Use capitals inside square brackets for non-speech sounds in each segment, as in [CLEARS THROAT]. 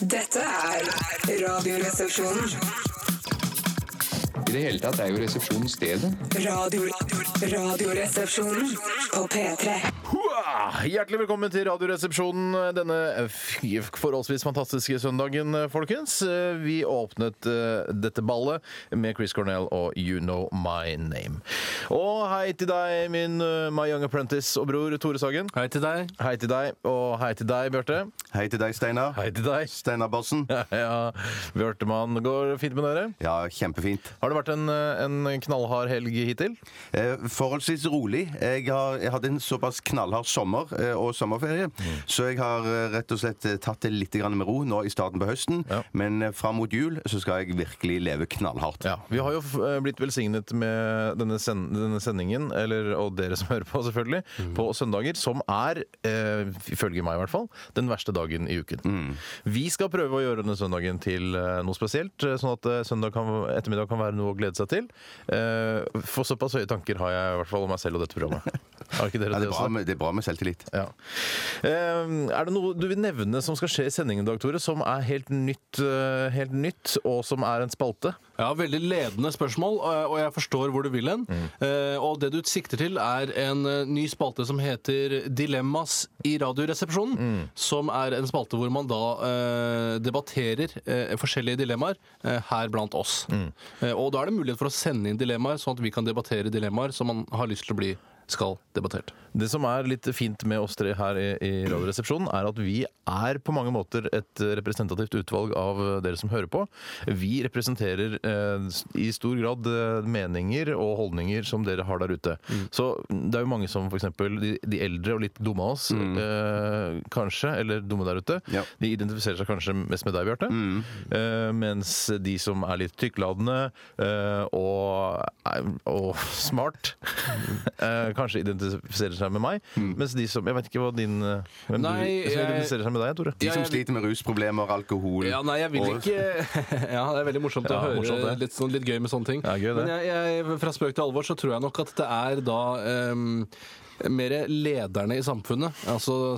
Dette er Radioresepsjonen. I det hele tatt er jo resepsjonen stedet. Radio, radioresepsjonen på P3. Hua! Hjertelig velkommen til Radioresepsjonen denne fy- forholdsvis fantastiske søndagen, folkens. Eh, Vi åpnet eh, dette ballet med Chris Cornell og You Know My Name. Og hei til deg, min eh, My Young Apprentice og bror Tore Sagen. Hei til deg. Hei til deg, og hei til deg, Bjarte. Hei til deg, Steinar. Hei til deg. Steinar Bossen. [LAUGHS] Ja, Bjørtemann, går det fint med dere? Ja, kjempefint. Har det vært en, eh, en knallhard helg hittil? Eh, forholdsvis rolig. Jeg, har, jeg hadde en såpass knallhard sommer eh, og sommerferie, så jeg har eh, rett og slett eh, tatt det litt grann med ro nå i starten på høsten. Ja. Men eh, fram mot jul så skal jeg virkelig leve knallhardt. Ja, Vi har jo f- eh, blitt velsignet med denne, sen denne sendingen, eller, og dere som hører på, selvfølgelig, Mm. på søndager, som er, eh, ifølge meg i hvert fall, den verste dagen i uken. Mm. Vi skal prøve å gjøre denne søndagen til eh, noe spesielt, eh, sånn at eh, søndag kan, ettermiddag kan være noe å glede seg til. Eh, for såpass høye tanker har jeg i hvert fall om meg selv og dette [LAUGHS] programmet. Har ikke dere Ja, det det, er også? bra med, det er bra med selvtillit. Ja. Eh, Er det noe du vil nevne som skal skje i sendingen i dag, Tore, som er helt nytt, eh, helt nytt og som er en spalte? Jeg har veldig ledende spørsmål, eh, og og jeg forstår hvor du vil hen. Eh, Og det du sikter til, er en eh, ny spalte som heter Dilemmas i Radioresepsjonen. Som er en spalte hvor man da eh, debatterer eh, forskjellige dilemmaer eh, her blant oss. Eh, Og da er det mulighet for å sende inn dilemmaer, sånn at vi kan debattere dilemmaer som man har lyst til å bli skal debattert. Det som er litt fint med oss tre her i, i Radioresepsjonen, er at vi er på mange måter et representativt utvalg av dere som hører på. Vi representerer eh, i stor grad eh, meninger og holdninger som dere har der ute. Så det er jo mange som f.eks. De, de eldre og litt dumme av oss, eh, kanskje, eller dumme der ute, Ja. de identifiserer seg kanskje mest med deg, Bjarte. Mm. Eh, mens de som er litt tykkladende eh, og, og [LAUGHS] smart, [LAUGHS] eh, kanskje identifiserer seg med meg. Mens de som Jeg vet ikke hva din eh, Hvem Mm. Nei, du, som jeg- identifiserer seg med deg, Tore? De som jeg- sliter med rusproblemer, alkohol Ja, nei, jeg vil og- ikke [LAUGHS] Ja, det er veldig morsomt Ja, å høre morsomt, det. litt, sånn, litt gøy med sånne ting. Ja, gøy, det. Men jeg, jeg, fra spøk til alvor så tror jeg nok at det er da em, mer lederne i samfunnet, altså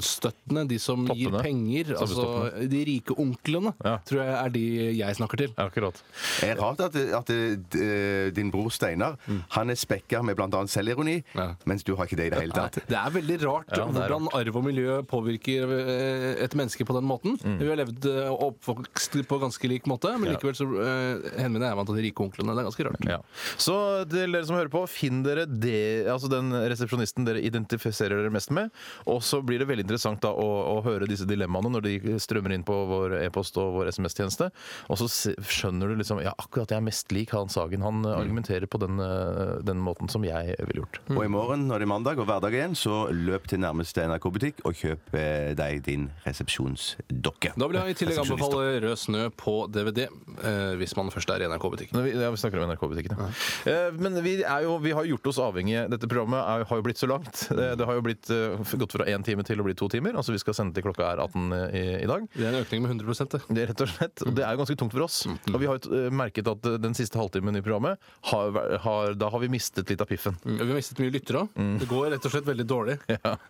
samfunnsstøttene, de som gir Toppene. penger, altså Samfunnsstoppene. de rike onklene, Ja. tror jeg er de jeg snakker til. Akkurat. Det er rart at, at eh, din bror Steinar Han er spekka med bl.a. selvironi, Ja. mens du har ikke det i det hele tatt. Det er veldig rart Ja, det er hvordan arv og miljø påvirker eh, et menneske på den måten. Vi har levd eh, og oppvokst på ganske lik måte, men Mm. Ja. likevel så eh, henvender jeg meg til de rike onklene. Det er ganske rart. Ja. Så til dere som hører på, finn dere det, altså den resepsjonisten dere identifiserer dere mest med. Og så blir det veldig interessant da å, å høre disse dilemmaene når de strømmer inn på vår e-post og vår SMS-tjeneste. Og så se- skjønner du liksom ja, akkurat jeg er mest lik han Sagen. Han eh, argumenterer på den, eh, den måten som jeg ville gjort. Mm. Og i morgen, når det er mandag og hverdag igjen, så løp til nærmeste NRK-butikk og kjøp eh, deg din resepsjonsdokke. Da vil jeg i tillegg Resepsjonist, da. anbefale Rød snø på DVD, eh, hvis man først er i NRK-butikken. Nei, vi- Ja, vi snakker om NRK-butikken. ja. Eh, Men vi, er jo, vi har gjort oss avhengige. Dette programmet er, har jo blitt så langt. Eh, Det har jo blitt, eh, gått fra én time til å bli to timer. Altså Vi skal sende til klokka er 18 i, i dag. Det er en økning med 100 det. Det er rett og slett, og det er jo ganske tungt for oss. Mm. Og vi har jo eh, merket at eh, den siste halvtimen i programmet, har, væ- har, da har vi mistet litt av piffen. Mm. Vi har mistet mye lyttere. Det går rett og slett veldig dårlig.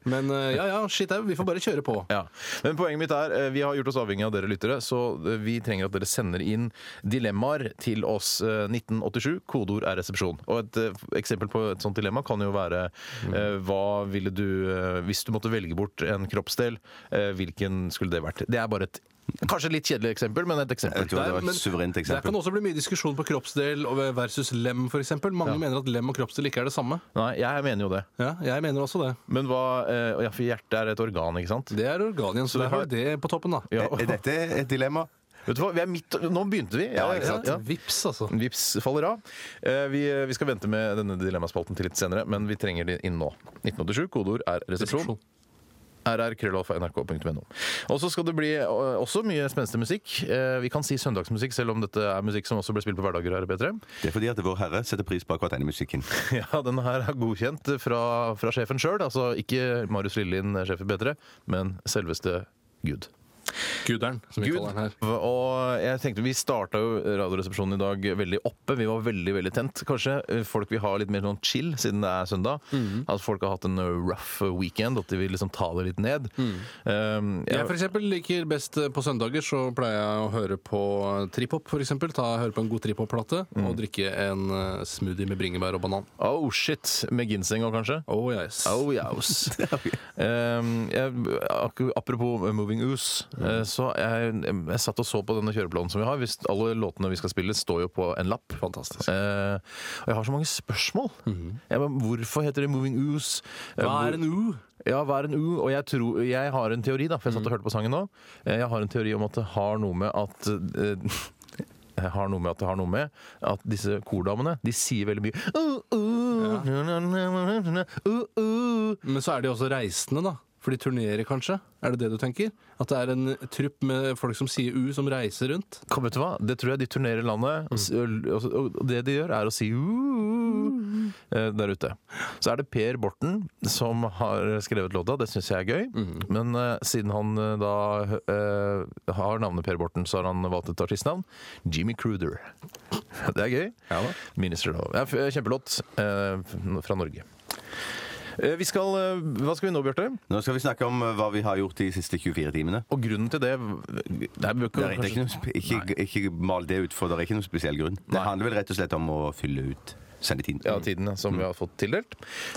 Men eh, ja ja, shit au, vi får bare kjøre på. Ja. Men poenget mitt er, eh, vi har gjort oss avhengig av dere lyttere, så eh, vi trenger at dere sender inn dilemmaer til oss eh, 1987. Kodeord er resepsjon. Og et eh, eksempel på et sånt dilemma kan jo være Mm. eh, hva ville du eh, Hvis du måtte velge bort en kroppsdel, eh, hvilken skulle det vært? Det er bare et Kanskje et litt kjedelig eksempel, men et Jeg eksempel. tror det var Der, et men suverent Der kan eksempel. det også bli mye diskusjon på kroppsdel og versus lem, f.eks. Mange mener at lem og kroppsdel ikke er det samme. Nei, jeg mener jo det. Ja, jeg mener også det. Men hva eh, Ja, for hjertet er et organ, ikke sant? Det er organ igjen, det så der har har- du det på toppen, da. Ja, Er- Er dette et dilemma? Vet du hva, vi er midt, nå begynte vi. Ja, ikke sant? Ja. Vips, altså. Vips faller av. Eh, Vi, vi skal vente med denne dilemmaspalten til litt senere, men vi trenger det inn nå. 1987, kodeord er resepsjon. rr.nrk.no. Og så skal det bli eh, også mye spenstig musikk. Eh, Vi kan si søndagsmusikk, selv om dette er musikk som også blir spilt på hverdager her i P3. Det er fordi at Vår Herre setter pris på akkurat denne musikken. Ja, den her er godkjent fra, fra sjefen sjøl. Altså ikke Marius Lillelien, sjef i P3, men selveste Gud. Guderen, som vi Gud. kaller den her. Og jeg tenkte, Vi starta jo Radioresepsjonen i dag veldig oppe. Vi var veldig veldig tent. Kanskje eh, folk vil ha litt mer sånn chill siden det er søndag. At folk har hatt en eh, rough weekend, at de vil liksom ta det litt ned. Um, jeg- Jeg for eksempel liker best eh, på søndager, så pleier jeg å høre på eh, trip-hop for eksempel. Ta, høre på en god trip-hop-plate Mm. og drikke en eh, smoothie med bringebær og banan. oh shit! Med ginseng og kanskje? Oh yes. Oh, jaus. um, jeg, ak- apropos Moving Oose, eh, så jeg, jeg satt og så på denne kjøreplanen som vi har. Hvis alle låtene vi skal spille, står jo på en lapp. Fantastisk. Eh, og jeg har så mange spørsmål. jeg, men, hvorfor heter det Moving Oose? Eh, Hva hvor- er en U? Ja, hva er en U? Og jeg, tror, jeg har en teori, da, for jeg satt og hørte på sangen nå. Eh, Jeg har en teori om at det har noe med at eh, jeg har noe med at det har noe med at disse kordamene de sier veldig mye uh, uh, na, na, na, na, uh, uh. Men så er de også reisende, da. For de turnerer, kanskje? Er det det du tenker? At det er en eh, trupp med folk som sier U, som reiser rundt? Kom, vet du hva? Det tror jeg de turnerer landet, og s- og, og, og det de gjør, er å si «Uh», eh, der ute. Så er det Per Borten som har skrevet låta, det syns jeg er gøy. Mhm. Men eh, siden han eh, da eh, har navnet Per Borten, så har han valgt et artistnavn. Jimmy Cruder. [LAUGHS] Det er gøy. Ja da. Minister Love. Ja, f- kjempelåt eh, fra Norge. Eh, Vi skal, eh, hva skal vi nå, Bjarte? Nå skal vi snakke om eh, hva vi har gjort de siste 24 timene. Og grunnen til det Det er, Det er, det er ikke, noe, sp- ikke, ikke mal det ut, for det er ikke noen spesiell grunn. Det handler vel rett og slett om å fylle ut sendetiden. ja, tiden ja, som vi har fått tildelt.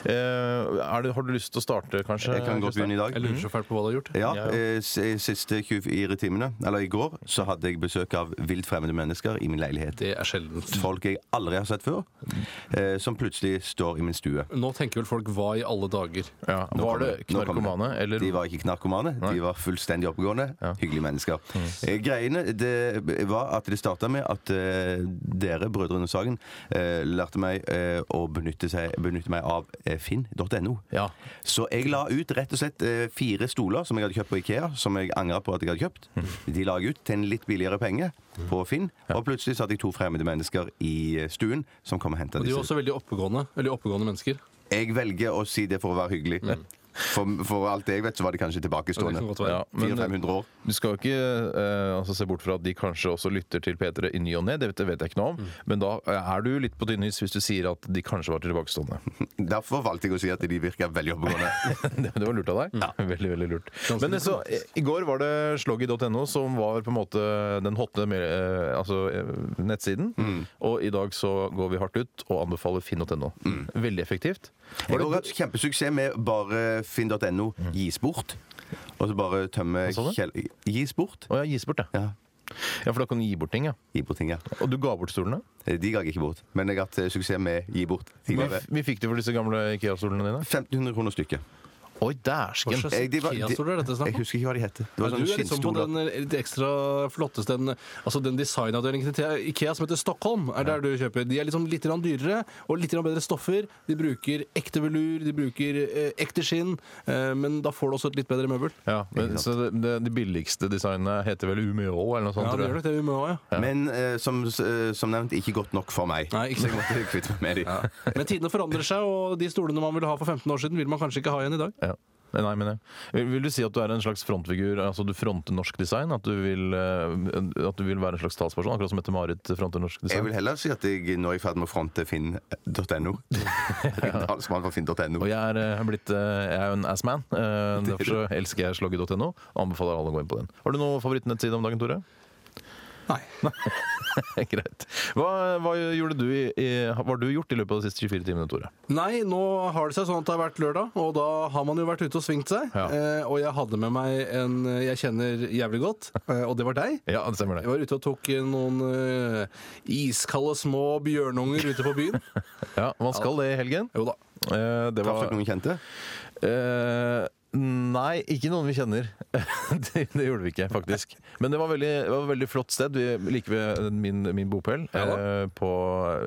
Eh, er det, har du lyst til å starte, kanskje? Jeg kan godt Kristian? begynne i dag. Jeg lurer så fælt på hva du har gjort. Ja, Ja, ja. eh, s- eh, siste 24 timene, eller i går, så hadde jeg besøk av vilt fremmede mennesker i min leilighet. Det er sjelden. Folk jeg aldri har sett før, eh, som plutselig står i min stue. Nå tenker vel folk 'hva i alle dager'? Ja. Nå Var det kommer Nå kommer knarkomane, eller De var ikke knarkomane. De var fullstendig oppegående, hyggelige mennesker. Mm. Eh, Greiene det var at det starta med at eh, dere, Brødrene Sagen, eh, lærte meg eh, å benytte, seg, benytte meg av eh, finn.no. Ja. Så jeg la ut rett og slett eh, fire stoler som jeg hadde kjøpt på Ikea, som jeg angret på at jeg hadde kjøpt. Mhm. De la jeg ut til en litt billigere penge på Finn, og plutselig satt jeg to fremmede mennesker i eh, stuen som kom og henta Og de disse. er også veldig oppegående. Veldig oppegående mennesker. Jeg velger å si det for å være hyggelig. For, for alt jeg vet, så var de kanskje Og det tilbakestående. kan godt være. Ja, men- 400-500 år. Du skal jo ikke eh, altså, se bort fra at de kanskje også lytter til P3 i ny og ne, det vet, det vet jeg ikke noe Mm. om. Men da er du litt på tynn is hvis du sier at de kanskje var tilbakestående. Derfor valgte jeg å si at de virker veldig [LAUGHS] oppegående. [LAUGHS] det, det var lurt av deg. Veldig, veldig lurt. Ganske Men eh, så, i i går var det sloggy.no som var på en måte den hotte me- eh, altså, eh, nettsiden. Og i dag så går vi hardt ut og anbefaler finn.no. Veldig effektivt. Jeg har hatt kjempesuksess med bare finn.no Mhm. gis bort. Og så bare tømme Hva sa kjell... Gis bort. Å ja, gis bort, ja. Ja, ja. For da kan du gi bort ting, ja. gi bort ting, ja. Og du ga bort stolene? De ga jeg ikke bort. Men jeg har hatt eh, suksess med gi bort Vi, tidligere. vi fikk du for disse gamle IKEA-stolene dine? 1500 kroner stykket. Oi, dæsken! Hva slags Jeg, eh, de var- de- Ikea-stoler er dette snakk om? jeg husker ikke hva de het. Det var sånn sånne Men du er liksom på skinnstoler. den eh, litt ekstra flotteste den, altså den designavdelingen til Ikea som heter Stockholm. er der du kjøper. De er liksom litt grann dyrere og litt grann bedre stoffer. De bruker ekte velur, de bruker eh, ekte skinn, eh, men da får du også et litt bedre møbel. Ja, men, så det, det, det billigste designet heter vel Umeå eller noe sånt? Ja, tror det jeg. gjør nok det vi må ha, ja. Men eh, som, eh, som nevnt, ikke godt nok for meg. Nei, ikke Så jeg måtte kvitte meg med de. Men tidene forandrer seg, og de stolene man ville ha for 15 år siden, vil man kanskje ikke ha igjen i dag. Ja. Nei, Nei, men jeg. Vil- Vil du si at du er en slags frontfigur, altså du fronter norsk design? At du vil, eh, at du vil være en slags talsperson, akkurat som Mette-Marit fronter norsk Jeg design? vil heller si at jeg nå er i ferd med å fronte eh, finn.no. [LAUGHS] Talsmann Og for finn.no. jeg er, eh, blitt, eh, jeg er jo en assman, [LAUGHS] eh, derfor så elsker jeg sloggy.no. Anbefaler alle å gå inn på den. Har du noen favorittnettside om dagen, [LAUGHS] Tore? Nei. Greit. Hva, hva gjorde du i, i, hva har du gjort i løpet av de siste 24 timene, Tore? Nei, nå har det seg sånn at det har vært lørdag, og da har man jo vært ute og svingt seg. Ja. Eh, og jeg hadde med meg en eh, jeg kjenner jævlig godt, eh, og det var deg. Ja, det stemmer Jeg var ute og tok eh, noen eh, iskalde små bjørnunger ute på byen. Ja, man skal det i helgen. Jo da. Eh, Det Traff dere var noen kjente? Eh, nei, ikke noen vi kjenner. [LAUGHS] det, det gjorde vi ikke, faktisk. Men det var veldig, det var et veldig flott sted. Vi, like ved min, min bopel Ja da. eh, på,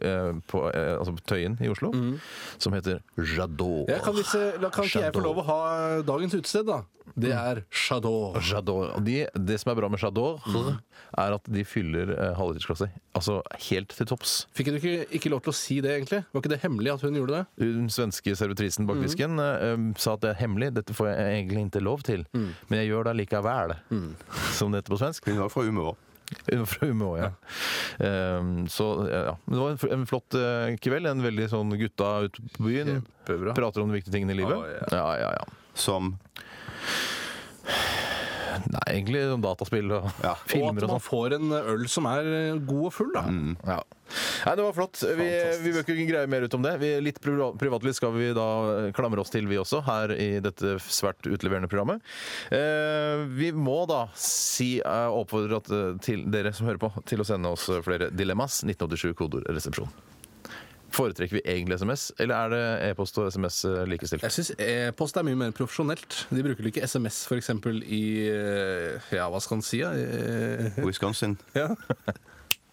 eh, på, eh, altså på Tøyen i Oslo, Mm. som heter Jadot. Jeg kan vise, da kan ikke jeg få Shadow. lov å ha dagens utested, da? Det er Shadow. Jadot. Og De, det som er bra med Jadot, Mm. er at de fyller eh, halvlitersklasser. Altså helt til topps. Fikk du ikke, ikke lov til å si det, egentlig? Var ikke det hemmelig at hun gjorde det? Mm. Den svenske servitrisen bak disken eh, eh, sa at det er hemmelig, dette får jeg jeg egentlig ikke lov til, Mm. men jeg gjør det likevel, [LAUGHS] som det heter på svensk. Hun var fra Umeå. [LAUGHS] Fra Umeå, ja. Ehm, så ja. Men det var en f- en flott eh, kveld. En veldig sånn gutta ute på byen. Kjempebra. Prater om de viktige tingene i livet. Å, ja. ja, ja, Som Nei, egentlig om dataspill og Ja. Og [LAUGHS] at filmer og sånn. man Mm. får en øl som er eh, god og full, da. Ja. Nei, det var flott. Vi, vi bør ikke greie mer ut om det. Vi, litt priva- privatliv skal vi da eh, klamre oss til, vi også, her i dette svært utleverende programmet. Eh, vi må da si eh, oppfordre at, eh, til dere som hører på, til å sende oss eh, flere dilemmas. 1987 kodeord resepsjon. Foretrekker vi egentlig SMS, eller er det e-post og SMS eh, likestilt? Jeg syns e-post er mye mer profesjonelt. De bruker vel ikke SMS f.eks. i eh, Ja, hva skal en si? Ja? Eh, Wisconsin. ja.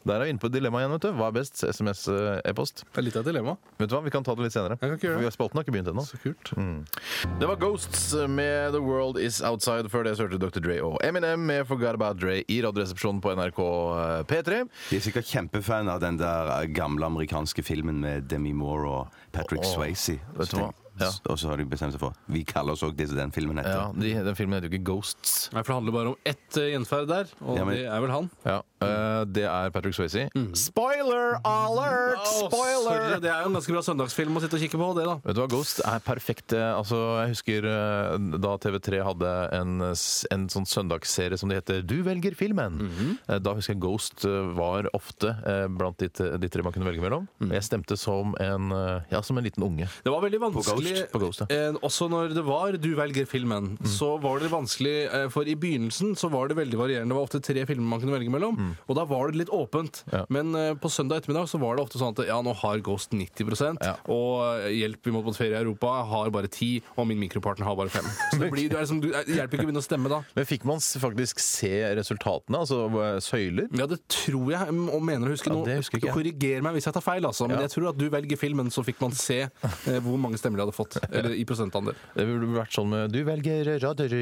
Der er vi inne på et dilemma igjen, vet du. Hva er best? SMS, eh, e-post? Det er litt av et dilemma. Vet du hva, vi kan ta det litt senere. Jeg kan ikke gjøre det. For vi har- Spalten har ikke begynt ennå. Så kult. Det var Ghosts med The World Is Outside. Før det så hørte du Dr. Dre og Eminem med Forgot About Dre i Radioresepsjonen på NRK eh, P3. De er sikkert kjempefan av den der eh, gamle amerikanske filmen med Demi Moore og Patrick Åh, Swayze. vet du hva? Ja. Og så har de bestemt seg for Vi kaller oss òg det som den filmen Ja, heter. de, Den filmen heter jo ikke Ghosts. Nei, for det handler bare om ett eh, gjenferd der, og Ja, men- det er vel han. Ja, Mm. eh, Det er Patrick Swayze. Spoiler alert! Åh, Spoiler! sorry, det er jo en ganske bra søndagsfilm å sitte og kikke på, det, da. Vet du hva, Ghost er perfekt. eh, Altså, jeg husker eh, da TV3 hadde en, eh, s- en sånn søndagsserie som det heter Du velger filmen. Eh, Da husker jeg Ghost eh, var ofte eh, blant de, t- de tre man kunne velge mellom. Jeg stemte som en, eh, ja, som en liten unge. Det var veldig vanskelig Ghost? På Ghost, ja. Mm. eh, Også når det var Du velger filmen, så var det vanskelig eh, For i begynnelsen så var det veldig varierende. Det var ofte tre filmer man kunne velge mellom, og da var det litt åpent. Mm. Ja. Men eh, på søndag ettermiddag så var det ofte sånn at ja, nå har Ghost 90 Ja. og eh, Hjelp, vi må på ferie i Europa har bare ti, og min mikropartner har bare fem. Så [LAUGHS] det, blir, det, er liksom, du, det hjelper ikke å begynne å stemme da. Men fikk man s- faktisk se resultatene, altså eh, søyler? Ja, det tror jeg, mm, og mener å huske Ja, noe. det husker ikke jeg. Korriger meg hvis jeg tar feil, altså. Men Ja. jeg tror at du velger filmen, så fikk man se eh, hvor mange stemmer de hadde [LAUGHS] fått. Eller i prosentandel. Det burde vært sånn med Du velger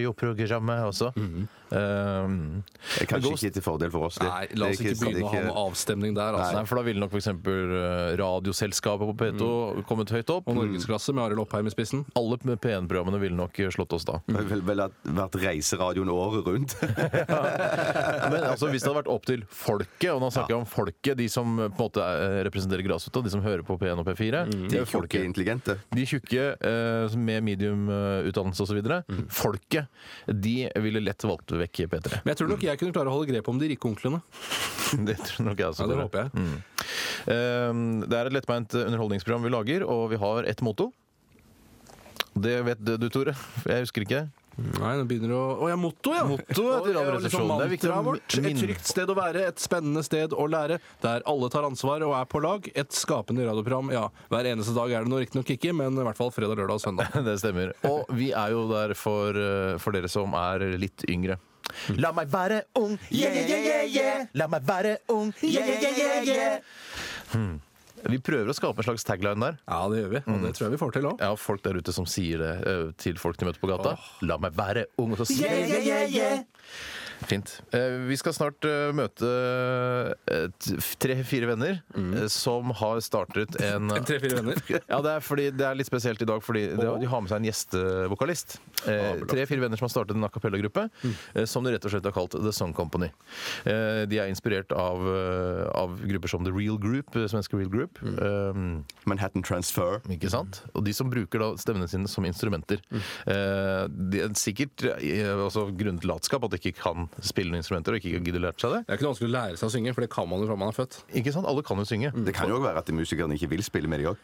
radioprogrammet også. Eh, Jeg Kanskje Ghost- ikke til fordel for oss. det. Nei, la oss Det er ikke begynne å ha det er noe avstemning der, altså. Nei, for da ville nok f.eks. Radioselskapet på P2 kommet høyt opp. Og norgesklasse med Arild Oppheim i spissen. alle P1-programmene ville nok eh, slått oss da. Det ville vel at- vært reiseradioen året rundt. Men altså, hvis det hadde vært opp til folket, og nå snakker jeg om folket, de som på en måte eh, representerer grasrota, de som hører på P1 og P4 De det er er tjukke, folket. intelligente. De tjukke eh, som med eh, mediumutdannelse osv. videre Folket. De ville lett valgt vekk P3. Men jeg tror nok jeg kunne klare å holde grep om de rike onklene. [LAUGHS] Det tror nok jeg også. Ja, det dere. håper jeg. Eh, det er et lettbeint underholdningsprogram vi lager, og vi har ett motto. Det vet du, Tore. Jeg husker ikke. Nei, nå begynner det å Å ja, motto, ja! Motto Og- etter og Radioresepsjonen. liksom Det er viktig å mantraet vårt. Et minne- trygt sted å være, et spennende sted å lære, der alle tar ansvar og er på lag. Et skapende radioprogram. Ja, hver eneste dag er det nå riktignok ikke, men i hvert fall fredag, lørdag og søndag. [LAUGHS] Det stemmer. Og vi er jo der for, eh, for dere som er litt yngre. La meg være ung, yeah, yeah, yeah, yeah, yeah. La meg være ung, yeah, yeah, yeah, yeah, yeah. Hmm. Vi prøver å skape en slags tagline der. Ja, det gjør vi, og Mm. det tror jeg vi får til òg. Jeg har folk der ute som sier det eh, til folk de møter på gata. La meg være ung. Og så sier de Fint. Eh, Vi skal snart eh, møte eh, tre-fire venner eh, som har startet en Tre-fire [LAUGHS] venner. ja, det er, fordi, det er litt spesielt i dag, fordi det, de har med seg en gjestevokalist. Eh, Tre-fire venner som har startet en a cappella-gruppe eh, som de rett og slett har kalt The Song Company. Eh, de er inspirert av, eh, av grupper som The Real Group, eh, svenske Real Group. Eh, Manhattan Transfer. ikke sant? Og de som bruker da stemmene sine som instrumenter. Eh, det er sikkert eh, altså, grunnet latskap at de ikke kan spille noen instrumenter og ikke gidder lært seg det. Det er ikke noe vanskelig å lære seg å synge, for det kan man jo fra man er født. Ikke sant? Alle kan jo synge. Det kan jo òg være at musikerne ikke vil spille med de òg.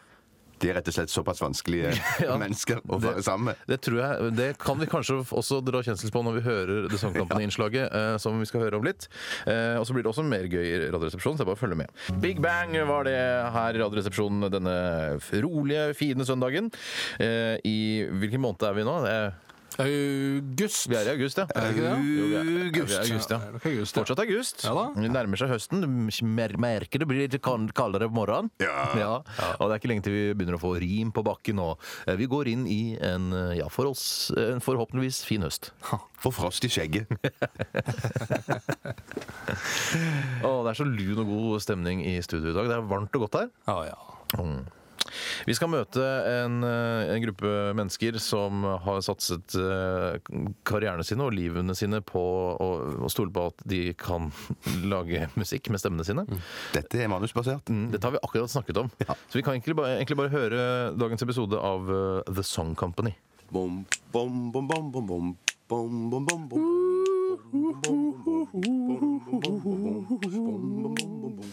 De er rett og slett såpass vanskelige mennesker å være sammen med. Det tror jeg, det kan vi kanskje også dra kjensel på når vi hører The Song Company-innslaget, eh, som vi skal høre om litt. Eh, og så blir det også mer gøy i Radioresepsjonen, så jeg bare følger med. Big Bang var det her i Radioresepsjonen denne f- rolige, fine søndagen. Eh, I hvilken måned er vi nå? Det er, August. vi er i august, ja. Er vi ikke det? Jo, vi er- Vi er i august, ja. Ja, det er nok august, ja. Fortsatt august. Ja da. Det nærmer seg høsten. Du mer- merker det blir litt kald- kaldere på morgenen. [LAUGHS] Ja. Og det er ikke lenge til vi begynner å få rim på bakken. Og eh, vi går inn i en eh, ja, for oss, eh, en forhåpentligvis fin høst. Få frost i skjegget. Å, det er så lun og god stemning i studio i dag. Det er varmt og godt her. Ja, ja. Vi skal møte en, eh, en gruppe mennesker som har satset eh, karrierene sine og livene sine på å, å stole på at de kan [LAUGHS] lage musikk med stemmene sine. Dette er manusbasert. Mm, Dette har vi akkurat snakket om. Så vi kan egentlig bare, egentlig bare høre dagens episode av eh, The Song Company. Bom, bom, bom, bom, bom, bom. Bom, bom, bom, bom.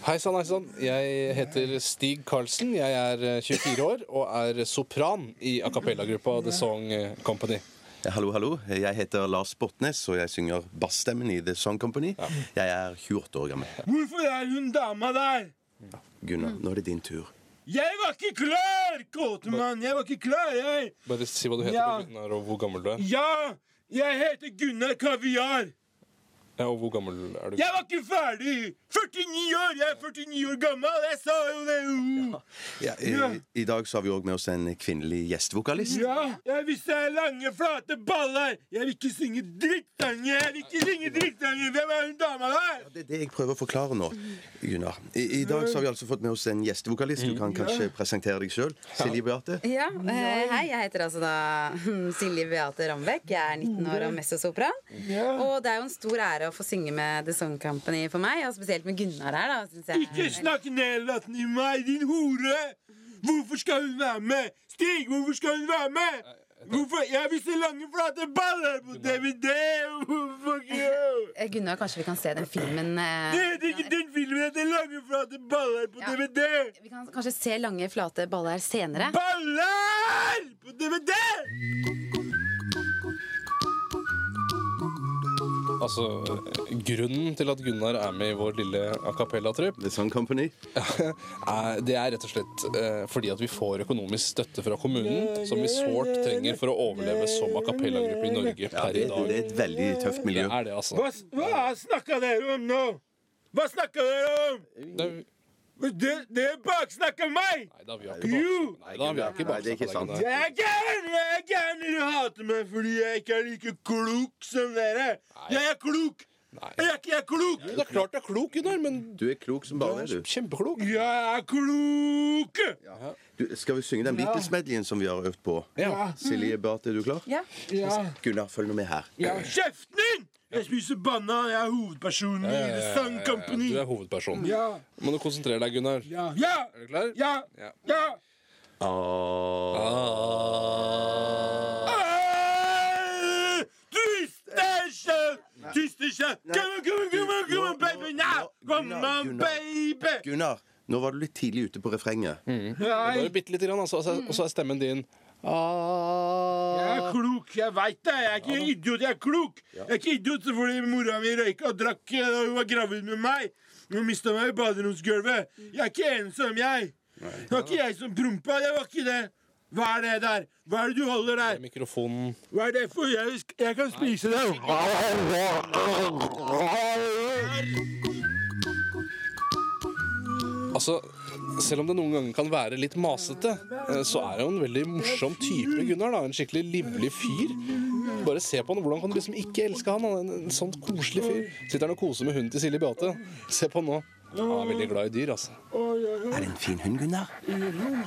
Hei sann, hei sann. Jeg heter Stig Karlsen. Jeg er eh, 24 år og er sopran i a cappella-gruppa The Song eh, Company. Hallo, hallo. Jeg heter Lars Bortnes, og jeg synger bassstemmen i The Song Company. Jeg er 28 år gammel. Hvorfor er hun dama der? Gunnar, nå er det din tur. Jeg var ikke klar, kåtemann! Jeg var ikke klar, jeg! Bare si hva du heter, Ja. Gunnar, og hvor gammel du er. Ja, jeg heter Gunnar Kaviar. Ja, og hvor gammel er du? Jeg var ikke ferdig! 49 år! Jeg er 49 år gammel! Jeg sa jo det! uh. Ja, i, I dag så har vi òg med oss en kvinnelig gjestvokalist. Ja, jeg visste jeg er lange, flate baller! Jeg vil ikke synge drittsanger! Jeg vil ikke synge drittsanger! Hvem er hun dama der? Det er det jeg prøver å forklare nå. Gunnar. I, I dag så har vi altså fått med oss en gjestevokalist. Du kan kanskje presentere deg sjøl. Silje Beate. Ja, eh, Hei, jeg heter altså da [LAUGHS] Silje Beate Rambekk. Jeg er 19 år og mezzosopran. Og det er jo en stor ære å få synge med The Song Company for meg, og spesielt med Gunnar her. da, synes jeg. Ikke snakk nedlatende i meg, din hore! Hvorfor skal hun være med? Stig, hvorfor skal hun være med? Hvorfor? Jeg vil se lange, flate baller på DVD! Fuck you! Eh, Gunnar, kanskje vi kan se den filmen Det eh, heter ikke den filmen heter Lange, flate baller på Ja. DVD! Vi kan kanskje se lange, flate baller senere. Baller på DVD! Altså, Grunnen til at Gunnar er med i vår lille a cappella-trupp, The Song Company. [LAUGHS] er- det er rett og slett eh, fordi at vi får økonomisk støtte fra kommunen, som vi sårt trenger for å overleve som a cappella-gruppe i Norge Ja, per det, i dag. det er et veldig tøft Det miljø. er det, altså. Hva, hva snakka dere om nå? Hva snakka dere om? Det, Dere de baksnakka meg! nei da, vi har ikke Jo! bak- Nei, da, vi har ikke Nei, det er ikke sant. baksnakket deg, Gunnar. Jeg er gæren! Jeg er gæren! Dere hater meg fordi jeg ikke er like klok som dere. Jeg er klok! Nei. Jeg er ikke jeg er klok! Det er klart du er klok, Gunnar, men Du er klok som du bare er det, du. kjempeklok. Jeg er klok! du. Skal vi synge den Beatles-medleyen som vi har øvd på? Ja. Silje Beate, er du klar? Ja. Ja. Gunnar, følg nå med her. Ja. Kjeften din! Jeg spiser banan. Jeg er hovedpersonen i The Sun Company. Du er hovedpersonen. Ja, Må du konsentrere deg, Gunnar. ja, ja, Er du klar? ja, Ja. ja. Ah, Tysterkjøtt! Tysterkjøtt! Come on, come on, come on, come on, baby! Now! Come on, baby! Gunnar, nå var du litt tidlig ute på refrenget. Da Nei, er det bitte lite grann, altså, og så er- og så er stemmen din jeg er klok. Jeg veit det. Jeg er ikke idiot. Jeg er klok. Jeg er ikke idiot fordi mora mi røyka og drakk eh, da hun var gravid med meg. Hun mista meg i baderomsgulvet. Jeg er ikke ensom, jeg. Det var ikke jeg som prompa. Det var ikke det. Hva er det der? Hva er det du holder der? mikrofonen Hva er det for? Jeg, jeg kan spise det. Altså, selv om det noen ganger kan være litt masete, eh, så er jo en veldig morsom type, Gunnar. da En skikkelig livlig fyr. Bare se på han, Hvordan kan du liksom ikke elske han? Han er en, en sånn koselig fyr. Sitter han og koser med hunden til Silje Beate. Se på han nå. Han er veldig glad i dyr, altså. Er det en fin hund, Gunnar?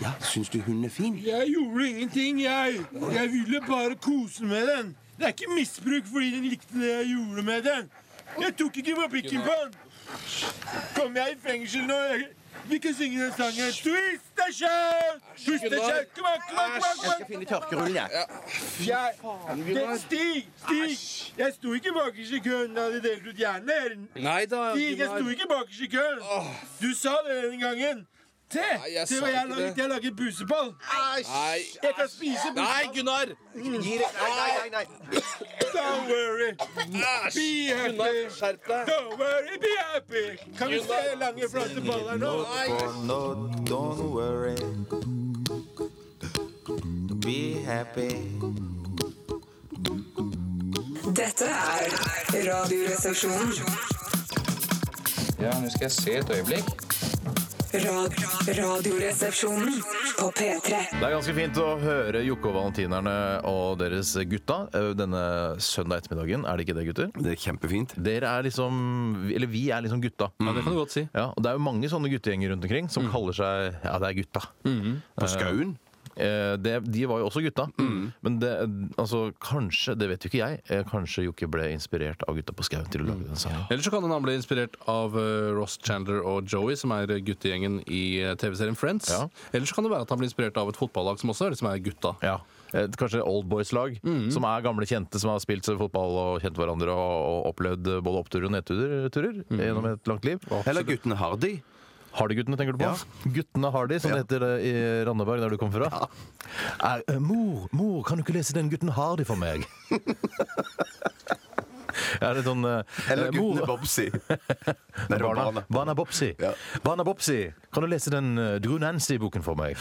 Ja, syns du hunden er fin? Jeg gjorde ingenting, jeg. Jeg ville bare kose med den. Det er ikke misbruk fordi den likte det jeg gjorde med den. Jeg tok ikke på pikken på den. Kommer jeg i fengsel nå? Jeg, vi kan synge den sangen. Twist the show! Twist the show! Kom an, kom an, kom an! Kom an. Finne tørkerullen, jeg. Jeg, det, stig! Stig! Jeg sto ikke bakerst i køen da de delte ut hjerner. Nei da, Stig, jeg sto Gunnar. ikke bakerst i kølen. Du sa det den gangen. Se, Nei, jeg se sa hva jeg har ikke laget. det. Jeg har laget buseball. Nei, Jeg kan spise Nei, Gunnar! Mm. Don't worry, be happy. Skjerp deg. Don't worry, be happy. Kan vi se lange, flate baller nå? No, don't worry. Be happy. Dette er Radioresepsjonen. Ja, nå skal jeg se et øyeblikk. Rad radioresepsjonen på P3. Det er ganske fint å høre Jokke og Valentinerne og deres gutta eh, denne søndag ettermiddagen. Er det ikke det, gutter? Det er kjempefint. Dere er liksom Eller vi er liksom gutta. Ja, det kan du godt si. Ja, og Det er jo mange sånne guttegjenger rundt omkring som kaller seg Ja, det er gutta. På Skauen. Eh, det, de var jo også gutta. Men det, altså, kanskje, det vet jo ikke jeg, eh, kanskje Jokke ble inspirert av Gutta på skauen til å lage den sangen. Eller så kan den han bli inspirert av eh, Ross Chandler og Joey, som er guttegjengen i eh, TV-serien Friends. Ja. Eller så kan det være at han blir inspirert av et fotballag som også er, som er gutta. Ja. Et, kanskje Old Boys-lag, som er gamle kjente som har spilt fotball og kjent hverandre og, og opplevd både oppturer og nedturer turer, gjennom et langt liv. Eller guttene Hardy. Hardy-guttene, tenker du på? Guttene Hardy, som det heter det i Randaberg, der du kom fra. Er, eh, mor, mor, kan du ikke lese den gutten Hardy for meg? Er det sånn eh, Eller eh, guttene mor- Bobsy. Nei, det var Barna, barna. barna Bobsy. Ja. Barna Bobsy, kan du lese den uh, Dru Nancy-boken for meg?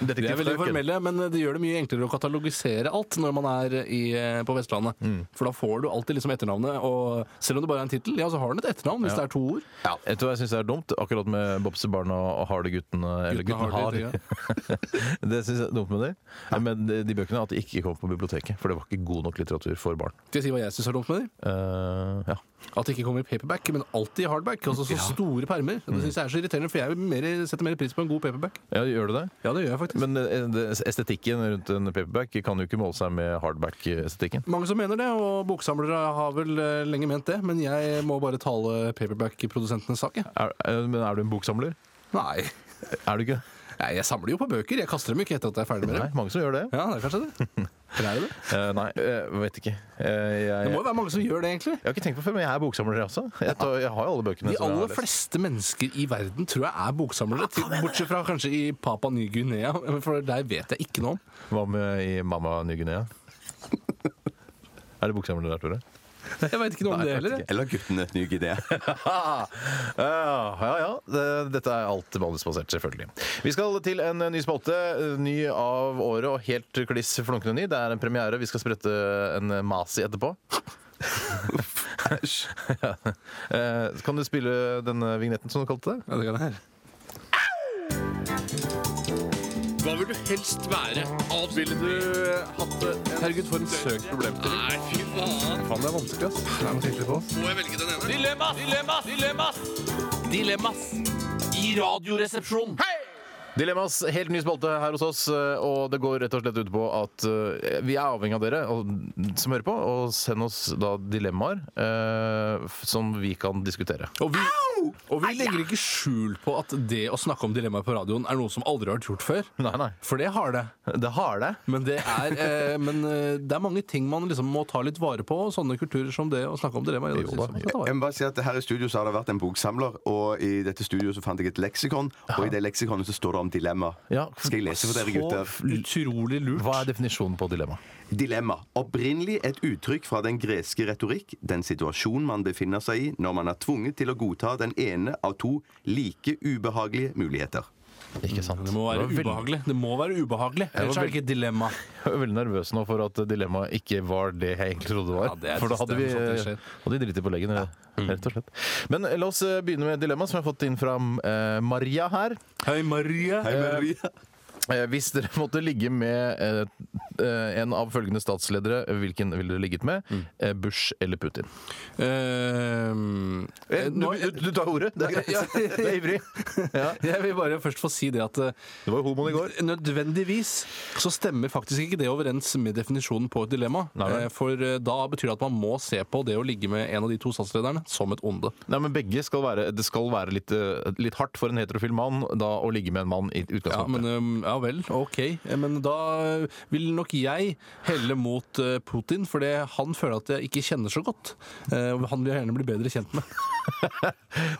Detektiv De er veldig Frøken. formelle, men det gjør det mye enklere å katalogisere alt når man er i, eh, på Vestlandet. For da får du alltid liksom etternavnet, og selv om det bare er en tittel, ja, så har den et etternavn hvis det er to ord. Vet du hva jeg syns er dumt? Akkurat med Bobsebarn og og Hardy-guttene. Eller Guttene gutten Hardy, Hardy. [LAUGHS] det syns jeg er dumt med det. Men de, de bøkene at de ikke kom på biblioteket, for det var ikke god nok litteratur for barn. Skal jeg si hva jeg syns er dumt med dem? Eh, ja. At det ikke kommer i paperback, men alltid i hardback. Altså så store permer. Det syns jeg er så irriterende, for jeg vil mer, setter mer pris på en god paperback. ja, gjør du det? Ja, det gjør jeg faktisk. Men eh, det- estetikken rundt en paperback kan jo ikke måle seg med hardback-estetikken. Mange som mener det, og boksamlere har vel eh, lenge ment det, men jeg må bare tale paperback-produsentenes sak, jeg. Er, eh, men er du en boksamler? Nei. Er du ikke? Nei, jeg samler jo på bøker. Jeg kaster dem ikke etter at jeg er ferdig med Nei, dem. mange som gjør det. Ja, det er kanskje det. [LAUGHS] Eller er det det? Eh, nei, eh, vet ikke. Eh, Det jeg, må jo være mange som gjør det, egentlig. jeg har ikke tenkt på det før, men jeg er boksamler, jeg også. Jeg, tar, jeg har jo alle bøkene. som De jeg har aller lest. fleste mennesker i verden tror jeg er boksamlere, til, bortsett fra kanskje i Papa Ny-Guinea, for der vet jeg ikke noe om. Hva med i Mamma [LAUGHS] Ny-Guinea? er det boksamlere der, Tore? Jeg vet ikke noe om det heller. jeg. [LAUGHS] Eller guttene Ny-Guinea. [LAUGHS] Ja, ja. ja. Det- Dette er alt manusbasert, selvfølgelig. Vi skal til en ny spalte. Ny av året og helt kliss flunkende ny. Det er en premiere. Vi skal sprette en masi etterpå. Æsj. [LAUGHS] ja. Eh, Kan du spille denne vignetten som du kalte det? Ja, det kan jeg. Hva vil du helst være? Ville du hatt det? Herregud, for en søk problemstilling. Nei, fy faen. Faen, det er vanskelig, ass. Det er noe sikkert på. Må jeg velge den ene? Dilemmas! Dilemmas! Dilemmas! Dilemmas! I radioresepsjonen. Dilemmas, helt ny spalte her hos oss, eh, og det går rett og slett ut på at eh, vi er avhengig av dere og, som hører på, og send oss da dilemmaer eh, f- som vi kan diskutere. Og vi, og vi legger ikke skjul på at det å snakke om dilemmaer på radioen er noe som aldri har vært gjort før. Nei, nei. For det har det. Det har det. Men det er, [LAUGHS] eh, men eh, det er mange ting man liksom må ta litt vare på, og sånne kulturer som det å snakke om dilemmaer. Jo da. Jeg må bare si at Her i studio så har det vært en boksamler, og i dette studioet så fant jeg et leksikon. Og i det leksikonet så står det om dilemma. Ja. Skal jeg lese for dere, gutter? Utrolig lurt. Hva er definisjonen på dilemma? Dilemma. Opprinnelig et uttrykk fra den greske retorikk, den situasjonen man befinner seg i når man er tvunget til å godta den ene av to like ubehagelige muligheter. Ikke sant? Det Mm, må være Jeg var veldig- ubehagelig. Det må være ubehagelig. var Ellers er det veldig- ikke et dilemma. Jeg var veldig nervøs nå for at dilemmaet ikke var det jeg egentlig trodde det var. Ja, det er for da trist, hadde vi eh, det er sånn det skjer. hadde vi driti på leggen, rett og slett. Men eh, la oss eh, begynne med dilemmaet som jeg har fått inn fra eh, Maria her. Hei, Maria. Eh, Hvis dere [LAUGHS] måtte ligge med eh, eh, en av følgende statsledere, hvilken ville dere ligget med? Mm. Eh, Bush eller Putin? Eh, Eh, nå, du, du tar ordet. Det er greit. Ja. Du er ivrig. Ja. jeg vil bare først få si det at eh, Det var jo homoen i går. Nødvendigvis så stemmer faktisk ikke det overens med definisjonen på et dilemma. Nei vel. Eh, For eh, da betyr det at man må se på det å ligge med en av de to statslederne som et onde. Nei, men begge skal være, Det skal være litt, eh, litt hardt for en heterofil mann da, å ligge med en mann i Ja, men, utgangspunktet. eh, ja vel, ok. Eh, Men da vil nok jeg helle mot eh, Putin, fordi han føler at jeg ikke kjenner så godt. Eh, og Han vil jeg gjerne bli bedre kjent med.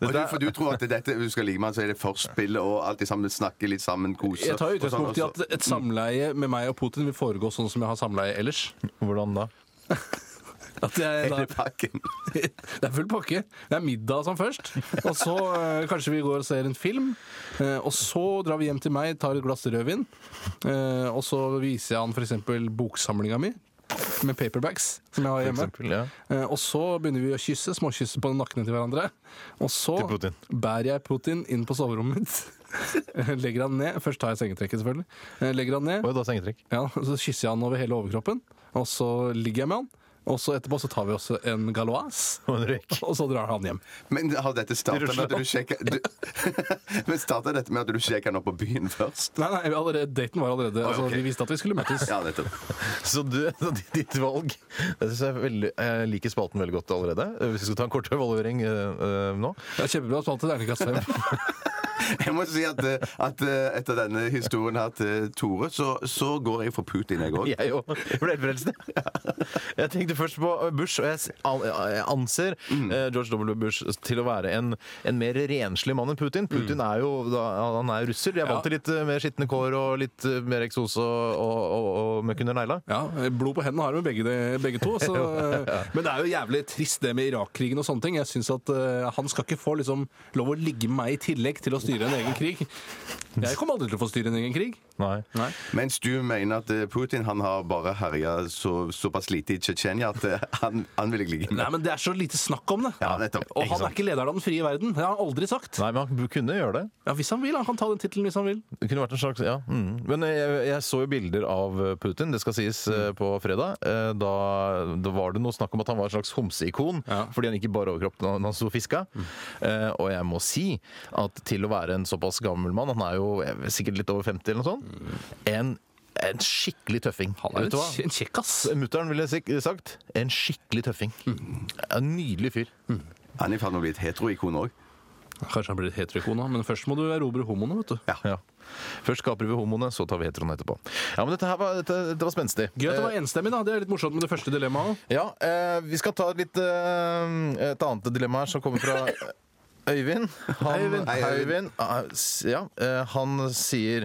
Og du, for du tror at dette du skal ligge med han, så er det forspill og alt det sammen, snakke litt sammen, kose Jeg tar jo og sånn, utgangspunkt i og at så- altså- et samleie med meg og Putin vil foregå sånn som jeg har samleie ellers. Hvordan da? At jeg, [LAUGHS] da, Hele pakken. Det er full pakke. Det er middag som først. Og så eh, kanskje vi går og ser en film. Eh, og så drar vi hjem til meg, tar et glass rødvin. Eh, og så viser jeg han f.eks. boksamlinga mi. med paperbacks, som jeg har For hjemme. eksempel, ja. Eh, Og så begynner vi å kysse, småkysse på nakkene til hverandre. Og så Til Putin. bærer jeg Putin inn på soverommet mitt. [LAUGHS] Legger han ned. Først tar jeg sengetrekket, selvfølgelig. Eh, Legger han ned. Og da sengetrekk. Ja, så kysser jeg han over hele overkroppen. Og så ligger jeg med han. Og så etterpå så tar vi også en galois. Og en røyk. Og så drar han hjem. Men har dette starta med at du sjekker du, [LAUGHS] Men starta dette med at du sjekker han opp på byen først? Nei, nei, vi allerede, daten var allerede altså, ok. Vi visste at vi skulle møtes. Ja, nettopp. [LAUGHS] Så du, så ditt valg Jeg, synes jeg, er veldig, jeg liker spalten veldig godt allerede. Hvis vi skal ta en kort evaluering eh, eh, nå. Det er kjempebra spalt til Ernekast [LAUGHS] 5. Jeg må si at, eh, at eh, etter denne historien her til Tore, så, så går jeg for Putin, [LAUGHS] jeg òg. Jeg òg ble helt frelst. [LAUGHS] Jeg tenkte først på Bush, og jeg s- an- jeg anser eh, George W. Bush til å være en, en mer renslig mann enn Putin. Putin er jo da, han er russer. De er vant til litt eh, mer skitne kår og litt eh, mer eksos og, og, og, og møkk under negla. Ja, Blod på hendene har vi begge, de- begge to. [LAUGHS] Så, men det er jo jævlig trist det med Irak-krigen og sånne ting. Jeg synes at eh, Han skal ikke få liksom, lov å ligge med meg i tillegg til å styre en egen krig. Jeg kommer aldri til å få styre en egen krig. Nei. Mens du mener at eh, Putin han har bare herja så, såpass lite i Tsjetsjenia at eh, han, han vil jeg ligge med. Nei, men Det er så lite snakk om det. Ja, nettopp. Og han Ikke er ikke leder av den frie verden. Det har han aldri sagt. Nei, men han kunne gjøre det. Ja, Hvis han vil. Han kan ta den tittelen hvis han vil. Det kunne vært en slags, ja. Mm. Men jeg, jeg så jo bilder av Putin, det skal sies, Mm. eh, på fredag. Eh, Da, da var det noe snakk om at han var en slags homseikon, Ja. Mm. fordi han ikke bare overkropp da han sto og fiska. Eh, Og jeg må si at til å være en såpass gammel mann, han er jo jeg vet, sikkert litt over 50 eller noe sånt, en, en skikkelig tøffing. Mm. Han er Vet du jo hva? en kje- en kjekkas. Mutter'n ville sik- sagt en skikkelig tøffing. Mm. En nydelig fyr. Han er i ferd med å bli et heteroikon òg. Kanskje han blir et heteroikon, da, men først må du erobre homoene. vet du. Ja. Først skaper vi homoene, så tar vi heteroene etterpå. Ja, men Dette her var, dette, dette var spenstig. Gøy Eh, at det var enstemmig. da, Det er litt morsomt med det første dilemmaet òg. Ja, eh, vi skal ta et litt, eh, et annet dilemma her som kommer fra [LAUGHS] Øyvind. Han, Øyvind. Hei, Øyvind. Øyvind, ah, s- ja, eh, han sier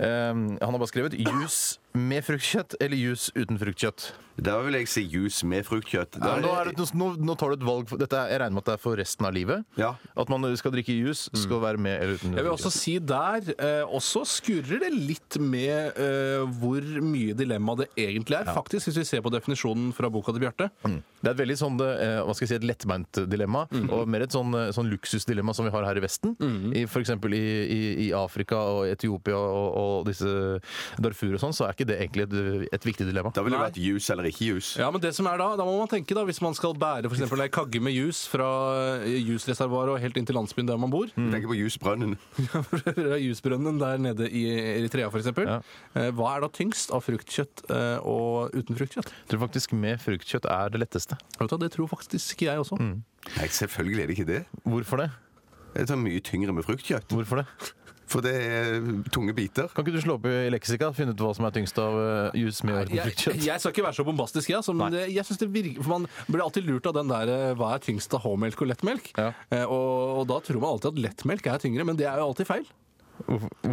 eh, Han har bare skrevet 'jus med fruktkjøtt' eller 'jus uten fruktkjøtt'. Der vil jeg si juice med fruktkjøtt. Ja, Der- nå, er det, nå, nå tar du et valg. for- Dette, er- jeg regner med at det er for resten av livet. Ja. Mm. At man skal drikke jus, skal være med eller uten Jeg vil også si der eh, også skurrer det litt med eh, hvor mye dilemma det egentlig er. Faktisk, Hvis vi ser på definisjonen fra boka til Bjarte. Det er et veldig sånn, eh, hva skal jeg si, et lettbeint dilemma, og mer et sånn, eh, sånn luksusdilemma som vi har her i Vesten. I, for eksempel i, i, i Afrika og Etiopia og, og disse Darfur og sånn, så er ikke det egentlig et, et viktig dilemma. Da ville det Nei. vært juice eller ikke juice. Ja, men det som er Da da må man tenke da, hvis man skal bære for eksempel, ei kagge med jus fra eh, jusreservoaret og helt inn til landsbyen der man bor. Mm. Tenk på jusbrønnen. Mm. [LAUGHS] fra Jusbrønnen der nede i Eritrea f.eks. Ja. Eh, hva er da tyngst av fruktkjøtt eh, og uten fruktkjøtt? Jeg tror faktisk med fruktkjøtt er det letteste. Vet du hva, Det tror faktisk ikke jeg også. Nei, selvfølgelig er det ikke det. Hvorfor det? Det er så mye tyngre med fruktkjøtt. Hvorfor det? For det er tunge biter. Kan ikke du slå opp i leksika og finne ut hva som er tyngst av eh, jus med og uten Jeg, fruktkjøtt? jeg skal ikke være så bombastisk, jeg. Som det, jeg synes det virker, for man blir alltid lurt av den der eh, hva er tyngst av H-melk og lettmelk. Ja. Eh, og, og da tror man alltid at lettmelk er tyngre, men det er jo alltid feil.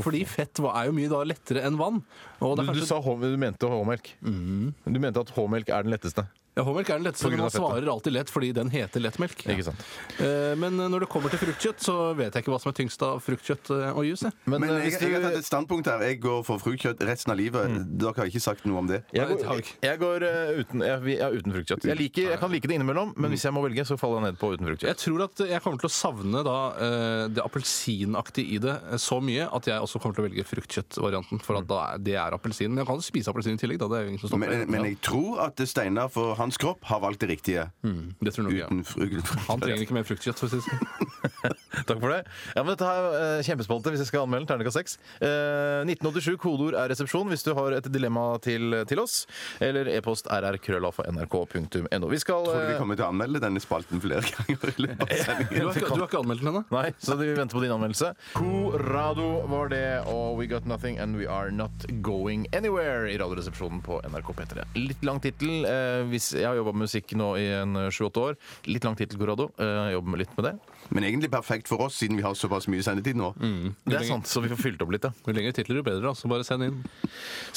Fordi fett var- er jo mye da lettere enn vann. Og Du, det er du, kanskje, sa H, du mente H-melk. Du mente at H-melk er den letteste. ja, H-melk er den letteste, på grunn men man av fettet. svarer alltid lett fordi den heter lettmelk. Ikke sant? Eh, men når det kommer til fruktkjøtt, så vet jeg ikke hva som er tyngst av fruktkjøtt eh, og juice. jeg. Men, Men eh, jeg, hvis jeg du- har Mm. tatt et standpunkt her. Jeg går for fruktkjøtt resten av livet. Dere har ikke sagt noe om det. Nei, Jeg det har går, vi ikke. jeg går eh, uten, jeg, vi- ja, uten fruktkjøtt. Jeg, liker, jeg kan like det innimellom, men hvis jeg må velge, så faller jeg ned på uten fruktkjøtt. Jeg tror at jeg kommer til å savne da, eh, det appelsinaktige i det eh, så mye at jeg også kommer til å velge fruktkjøttvarianten. For at da er, det er appelsin. Men jeg kan jo spise appelsin i tillegg. Da. Det er jo ingen som Men, stopper eh, det. men jeg tror at Steinar for hans kropp har valgt det riktige. Mm, det tror nok jeg. Uten frukt. Han trenger ikke mer fruktkjøtt. For å si [LAUGHS] det sånn. Takk for det. Ja, men dette er eh, kjempespalte hvis jeg skal anmelde den. Terningkast 6. 1987, kodeord er resepsjon hvis du har et dilemma til, til oss. Eller e-post rrkrøllalfa.nrk.no. Vi skal Tror du vi eh, kommer til å anmelde denne spalten flere ganger? i løpet av du, sendingen? har ikke, du har ikke anmeldt den ennå? Nei, så vi venter på din anmeldelse. Corrado var det, og We Got Nothing And We Are Not Going Anywhere i Radioresepsjonen på NRK P3. Litt lang tittel. Eh, hvis Jeg har jobba med musikk nå i en sju-åtte år. Litt lang tid til Corrado. Eh, Jeg jobber med litt med det. Men egentlig perfekt for oss, siden vi har såpass mye sendetid nå. Mm. Det er sant, så vi får fylt opp litt, ja. Jo lengre titler, jo bedre. da, så bare send inn.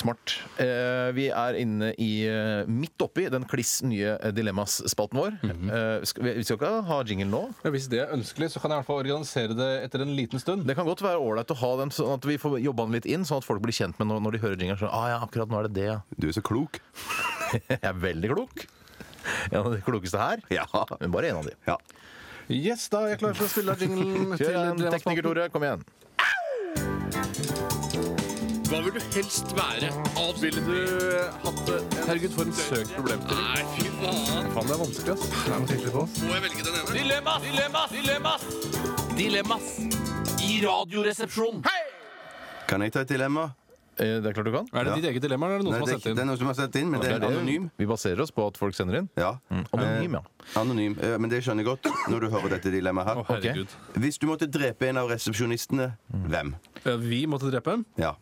Smart. Eh, vi er inne i eh, midt oppi den kliss nye eh, Dilemmas-spalten vår. Mhm. Eh, skal, vi vi skal ikke ha jingle nå. Ja, hvis det er ønskelig, så kan jeg i hvert fall organisere det etter en liten stund. Det kan godt være ålreit å ha den sånn at vi får jobba den litt inn, sånn at folk blir kjent med når, når de hører jingelen. Sånn, ah, ja, akkurat nå er det det, ja. [LAUGHS] Du er så klok. Jeg er veldig klok. [LAUGHS] En av de klokeste her. Ja. Men bare en av de. ja. Yes, da er jeg klar for å spille av [LAUGHS] jinglen til Kjør en tekniker, Dilemmaspalten. Tore. Kom igjen. Hva vil du helst være? Avspille du Herregud, for en søk problem. Nei, fy faen. Faen, det er vanskelig, ass. Det er noe tydelig på oss. Må jeg velge den ene? Dilemmas! Dilemmas! Dilemmas! Dilemmas i Radioresepsjonen. Kan jeg ta et dilemma? Eh, det er klart du kan. Er det Ja. ditt eget dilemma, eller er det noen Nei, som det, er, ikke- har sendt det er inn? noen som har sendt inn, men det er Det- anonym. Vi baserer oss på at folk sender inn. Ja. Mm. Anonym, ja. Anonym. Eh, Men det skjønner jeg godt når du hører dette dilemmaet her. Å, herregud. Hvis du måtte drepe en av resepsjonistene, hvem? Eh, Vi måtte drepe en. Ja.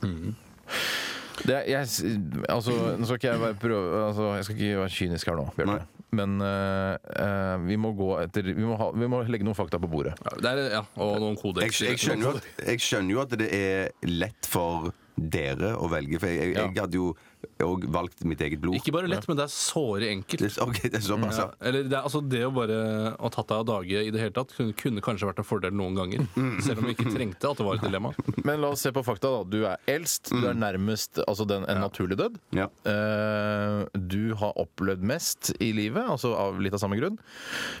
Det, er- jeg, s- altså, nå skal ikke jeg være, prøve, altså, jeg skal ikke være kynisk her nå, Bjarte. Nei. Men eh, eh, vi må gå etter vi må, ha, vi må legge noen fakta på bordet. Ja, det er, ja, og noen Jeg, kodeks. jeg, skjønner jo at, jeg skjønner jo at det er lett for dere å velge, for jeg, jeg, jeg hadde jo òg valgt mitt eget blod. Ikke bare lett, men det er såre enkelt. Det er- Ok, det er såpass, ja. Ja, eller det, er, altså det å bare å tatt deg av dage i det hele tatt kunne, kunne kanskje vært en fordel noen ganger. Mm. Selv om vi ikke trengte at det var et dilemma. Men la oss se på fakta. da Du er eldst, du er nærmest altså, den, en naturlig død. Ja. Eh, du har opplevd mest i livet, altså av litt av samme grunn.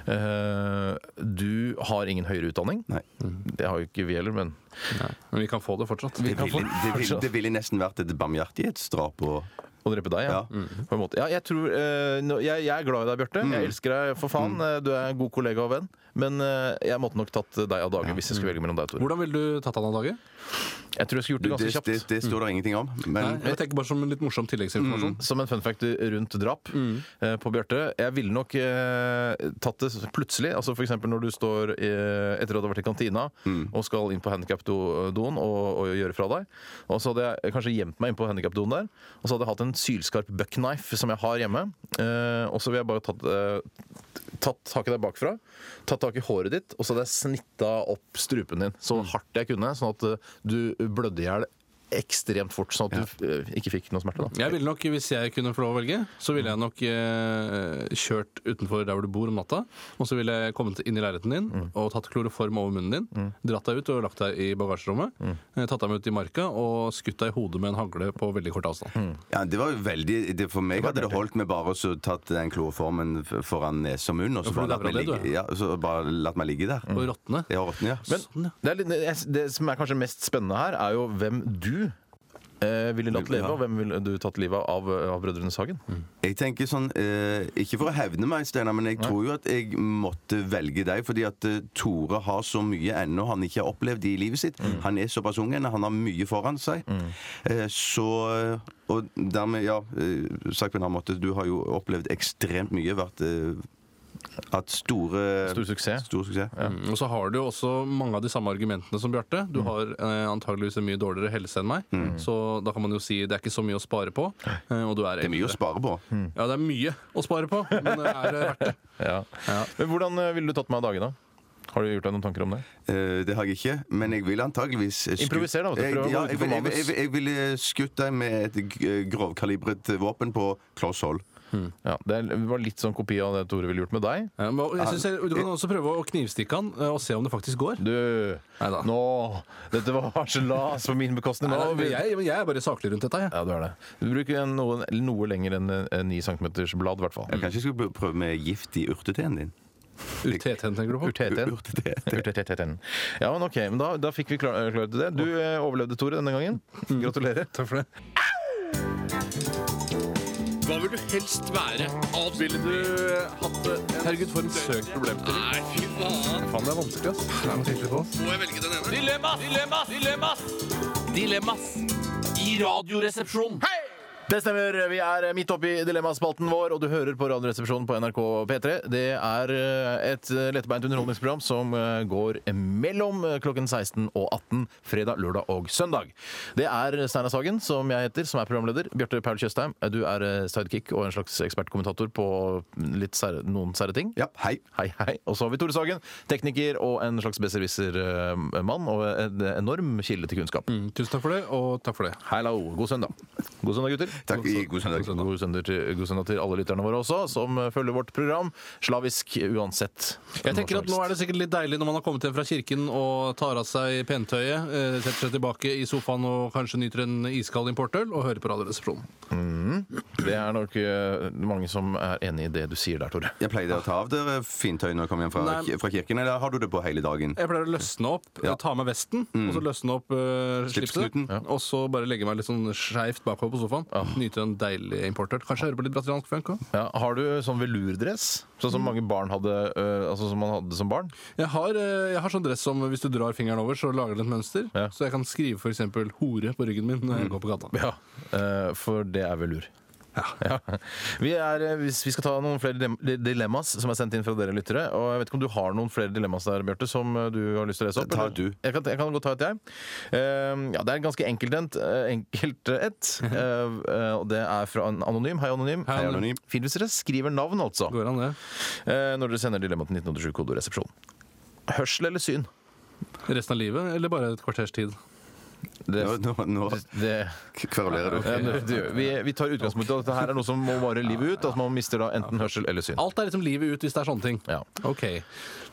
Eh, du har ingen høyere utdanning. Nei. Det har jo ikke vi heller, men Men vi kan få det fortsatt. Det ville, det, ville, det ville nesten vært et barmhjertighetsdrap og Å drepe deg, ja. Mm. Ja. På en måte. ja jeg, tror, eh, nå- jeg, jeg er glad i deg, Bjarte. Jeg elsker deg for faen. Eh, Du er en god kollega og venn. Men eh, jeg måtte nok tatt deg av dage hvis jeg skulle velge mellom deg, Tore. Hvordan ville du tatt han av dage? Jeg tror jeg skulle gjort det Det, ganske det, kjapt. det står det ingenting om. Men Jeg tenker bare som en litt morsom tilleggsinformasjon. Som en fun fact rundt drap eh, på Bjarte. Jeg ville nok eh, tatt det plutselig. Altså F.eks. når du står eh, etter at du har vært i kantina og skal inn på handikapdoen og, og gjøre fra deg. Og så hadde jeg kanskje gjemt meg inn på handikapdoen der. Og så hadde jeg hatt en sylskarp buckknife som jeg har hjemme. Eh, og så ville jeg bare tatt, eh, tatt tak i deg bakfra, tatt tak i håret ditt, og så hadde jeg snitta opp strupen din så hardt jeg kunne, sånn at eh, du blødde i hjel ekstremt fort, sånn at du eh, ikke fikk noe smerte. da Jeg ville nok, Hvis jeg kunne få lov å velge, så ville jeg nok eh, kjørt utenfor der hvor du bor om natta. Og så ville jeg kommet inn i leiligheten din Mm. og tatt kloroform over munnen din. Dratt deg ut og lagt deg i bagasjerommet. Mm. eh, Tatt deg med ut i marka og skutt deg i hodet med en hagle på veldig kort avstand. ja, det var jo veldig det, For meg hadde det holdt med bare å så tatt den kloroformen f- foran nese og munn, og så for bare du latt meg lever av det, ligge, du, ja, så bare latt meg ligge der. Og rottene. Ja, rotten, ja. Men Sånn, ja. det, er litt, jeg- det som er kanskje mest spennende her, er jo hvem du eh, ville latt leve, Ja. og hvem ville du tatt livet av eh, av Brødrene Sagen? Mm. Jeg tenker sånn, eh, Ikke for å hevne meg, Steinar, men jeg tror jo at jeg måtte velge deg. Fordi at eh, Tore har så mye ennå han ikke har opplevd i livet sitt. Mm. Han er såpass ung ennå, han har mye foran seg. Eh, så eh, Og dermed, ja eh, Sagt på en annen måte, du har jo opplevd ekstremt mye. Vært eh, Hatt store Stor suksess. Stor suksess. Mm, Og så har du jo også mange av de samme argumentene som Bjarte. Mm. Du har eh, antageligvis en mye dårligere helse enn meg, så da kan man jo si det er ikke så mye å spare på. eh, Og du er Det er mye å eldre. spare på. Mm. Ja, det er mye å spare på, men det er det verdt det. Ja. Men hvordan eh, ville du tatt meg av dage, da? Har du gjort deg noen tanker om det? Eh, det har jeg ikke, men jeg ville antageligvis skutt- Improviser da, vet du, Jeg- prøv å gå ja, utenfor jeg, ville- jeg, manus. jeg, jeg ville skutt deg med et g- eh, grovkalibret våpen på kloss hold. Ja, det er- det var litt sånn kopi av det Tore ville gjort med deg. Ja, men jeg synes jeg, du kan også prøve å knivstikke han eh, og se om det faktisk går. Du, Neida. nå Dette var harselas på min bekostning. Nei, Nå, nei, vil- jeg, men jeg er bare saklig rundt dette. Jeg. ja, du er det. Du bruker en- noe, noe lenger enn eh, 9 cm blad, i hvert fall. Kanskje jeg skulle pr- prøve med gift i urteteen din? Ut TT-en, tenker du på? Urteten. Urteten. Ja, men ok, men da, da fikk vi klar- klarhet til det. Du eh, overlevde, Tore, denne gangen. Gratulerer. [LAUGHS] Takk for det. Hva vil du helst være? Avspille Du hadde Herregud, for en søk problem. Nei, fy faen. Faen, det er vanskelig, ass. Det er noe tydelig på oss. Må jeg velge den ene? Dilemmas! Dilemmas! Dilemmas! Dilemmas i Radioresepsjonen. Det stemmer. Vi er midt oppe i dilemmaspalten vår, og du hører på Radioresepsjonen på NRK P3. Det er eh, et lettbeint underholdningsprogram som eh, går mellom eh, klokken 16 og 18 fredag, lørdag og søndag. Det er Steinar Sagen, som jeg heter, som er programleder. Bjarte Paul Tjøstheim, eh, du er eh, sidekick og en slags ekspertkommentator på mm, litt sære, noen sære ting. Ja, hei. Hei, hei. Og så har vi Tore Sagen, tekniker og en slags besserwisser-mann, og en eh, enorm kilde til kunnskap. Mm, Tusen takk for det, og takk for det. Hallo. God søndag. God søndag, gutter. Takk. God søndag. God søndag til, god søndag til alle lytterne våre også, som eh, følger vårt program. Slavisk uansett. Jeg tenker at Nå er det sikkert litt deilig når man har kommet hjem fra kirken og tar av seg pentøyet, eh, setter seg tilbake i sofaen og kanskje nyter en iskald importøl og hører på Radioresepsjonen. Det er nok eh, mange som er enig i det du sier der, Tore. Jeg pleier å ta av dere fintøy når jeg kommer hjem fra, Nei. fra kirken, eller har du det på hele dagen? Jeg pleier å løsne opp, Ja. ta med vesten, og så løsne opp eh, slipset. Slipsknuten. Og så bare legge meg litt sånn skeivt bakover på sofaen. Nyte en deilig importøl. Kanskje høre på litt brasiliansk funk òg. Ja, har du sånn velurdress? Sånn som mange barn hadde eh, Altså som man hadde som barn? Jeg, har, eh, jeg har sånn dress som hvis du drar fingeren over, så lager det et mønster. Ja. Så jeg kan skrive f.eks. 'hore' på ryggen min når jeg går på gata. Ja. eh, for det er velur. [LAUGHS] Ja. Vi, er, eh, hvis vi skal ta noen flere dilem- dilemmas som er sendt inn fra dere lyttere. Og jeg vet ikke om du har noen flere dilemmas der, Bjarte, som eh, du har lyst til å lese opp? Ta eller? du. Jeg kan, jeg kan godt ta et, jeg. Eh, ja, det er ganske enkelt et. eh, enkelt et. Eh, eh, og det er fra en anonym. Hei, anonym. Eh, Hei, anonym. Fint hvis dere skriver navn, altså. Går an, det. eh, når dere sender dilemma til 1987 kodoresepsjon. Hørsel eller syn? Resten av livet, eller bare et kvarters tid? Det, Nå, nå, nå det Ja, kverulerer du. Eh, men det- det- vi, vi tar utgangspunkt i at dette her er noe som må vare livet ut. At man mister da enten hørsel eller syn. Alt er liksom livet ut hvis det er sånne ting. Ja. Ok.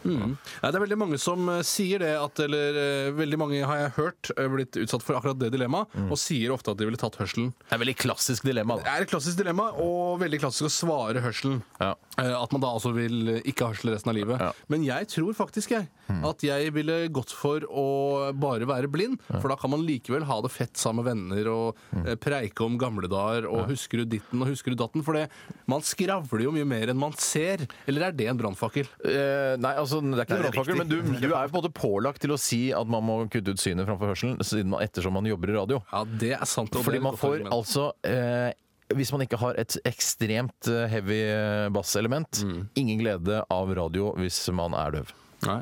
Mm. Ja, det er veldig mange som eh, sier det, at, eller eh, veldig mange har jeg hørt eh, blitt utsatt for akkurat det dilemmaet, Mm. og sier ofte at de ville tatt hørselen. Det er et veldig klassisk dilemma. Det er et klassisk dilemma, og veldig klassisk å svare hørselen. Ja. Eh, At man da altså vil eh, ikke ha hørsel resten av livet. Ja. Hmm. Men jeg tror faktisk jeg at jeg ville gått for å bare være blind, for da kan man likevel ha det fett sammen med venner og Hmm. eh, preike om gamle dager og husker du ditten og husker du datten, for det, man skravler jo mye mer enn man ser. Eller er det en brannfakkel? Eh, nei, altså, det er ikke Nei, det er brannfakkel, men du, du er jo på en måte pålagt til å si at man må kutte ut synet framfor hørselen siden man, ettersom man jobber i radio. Ja, det er sant. og det er Fordi et man godt får argument. altså eh, hvis man ikke har et ekstremt eh, heavy eh, basselement, Mm. ingen glede av radio hvis man er døv. Nei.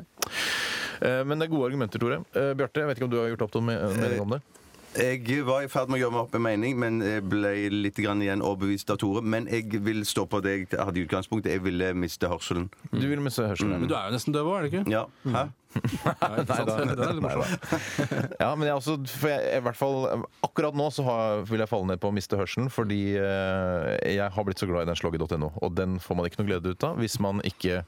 Eh, Men det er gode argumenter, Tore. Eh, Bjarte, jeg vet ikke om du har gjort opp noen me- mening om det? Jeg var i ferd med å gjøre meg opp en mening, men jeg ble litt grann igjen overbevist av Tore. Men jeg vil stå på det jeg hadde i utgangspunktet. Jeg ville miste hørselen. Eh, Du vil miste hørselen. Men du er jo nesten døv òg, er du ikke? Ja. Hæ? Nei, ikke sant? da. Det er litt morsomt. Ja, men jeg også, for jeg, i hvert fall Akkurat nå så har, vil jeg falle ned på å miste hørselen, fordi eh, jeg har blitt så glad i den slogge.no, og den får man ikke noe glede ut av hvis man ikke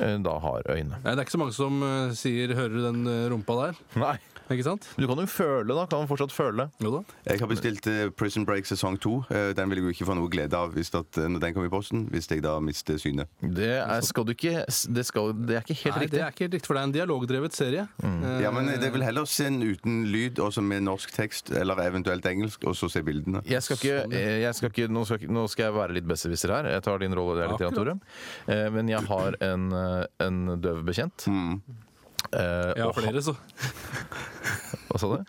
eh, da har øyne. Nei, det er ikke så mange som eh, sier 'hører du den eh, rumpa der'? Nei. Ikke sant? Du kan jo føle, da. Kan man fortsatt føle. Jo da. Jeg har bestilt eh, Prison Break sesong to. Eh, Den vil jeg jo ikke få noe glede av hvis at, eh, når den kommer i posten, hvis jeg da mister synet. Det er, skal du ikke Det, skal, det er ikke helt Nei, det riktig. er ikke helt riktig, for det er en dialogdrevet serie. Eh, Ja, men Det vil heller se en uten lyd, og så med norsk tekst, eller eventuelt engelsk, og så se bildene. Jeg skal ikke, sånn, eh, jeg skal ikke, nå, skal, ikke- nå skal jeg være litt besserwisser her. Jeg tar din rolle der litt, Jan Tore. Eh, Men jeg har en, eh, en døv bekjent. Mm. Eh, Ja, og for han- dere, så. Hva sa du?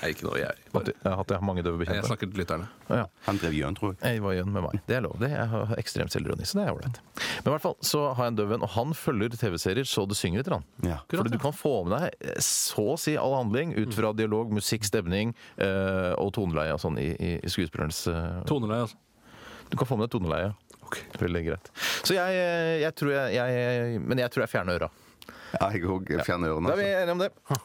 Nei, ikke noe jeg. At jeg at jeg har mange døve Jeg bekjente? snakker til lytterne. Ja. Han drev gjøn, tror jeg. Jeg var igjen med meg. Det er lov. Det jeg har ekstrem selvironi, så det er ålreit. Men i hvert fall så har jeg en døv venn, og han følger TV-serier så det synger etter han. Ja. Fordi du kan få med deg eh, så å si all handling ut fra dialog, musikk, stemning eh, og toneleie og sånn i, i, i skuespillerens eh, Toneleie, altså. Du kan få med deg toneleie. Veldig greit. Så jeg, eh, jeg tror jeg, jeg Men jeg tror jeg fjerner øra. Ja, jeg òg. Fjerne ørene. Da er vi Altså. enige om det.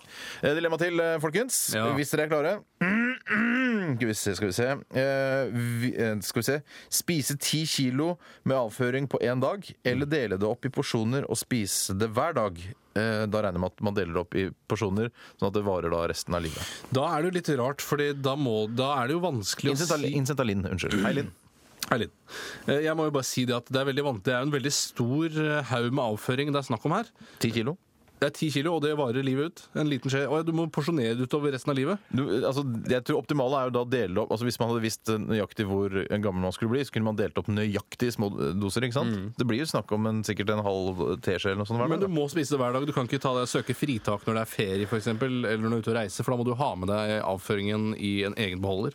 Eh, Dilemma til, eh, folkens. Ja. Hvis dere er klare. [CLEARS THROAT] Skal vi se, skal vi se. Eh, vi, eh, skal vi se. Spise ti kilo med avføring på én dag, eller dele det opp i porsjoner og spise det hver dag. Eh, Da regner jeg med at man deler det opp i porsjoner, sånn at det varer da resten av livet. Da er det jo litt rart, for da, må- da er det jo vanskelig å Insental- si Insentalin, unnskyld. Hei, Linn. Hei, Linn. Eh, Jeg må jo bare si det at det er veldig vant- Det er jo en veldig stor eh, haug med avføring det er snakk om her. Ti kilo. Det er ti kilo, og det varer livet ut. En liten skje. Å ja, du må porsjonere det utover resten av livet. Du, altså, jeg tror optimale er jo da å dele det opp altså Hvis man hadde visst nøyaktig hvor gammel man skulle bli, så kunne man delt opp nøyaktig i små doser. ikke Mm. sant? Det blir jo snakk om en, sikkert en halv teskje eller noe sånt hver Men dag. da. du må spise det hver dag. Du kan ikke ta deg, søke fritak når det er ferie, f.eks., eller når du er ute og reiser, for da må du ha med deg avføringen i en egen beholder.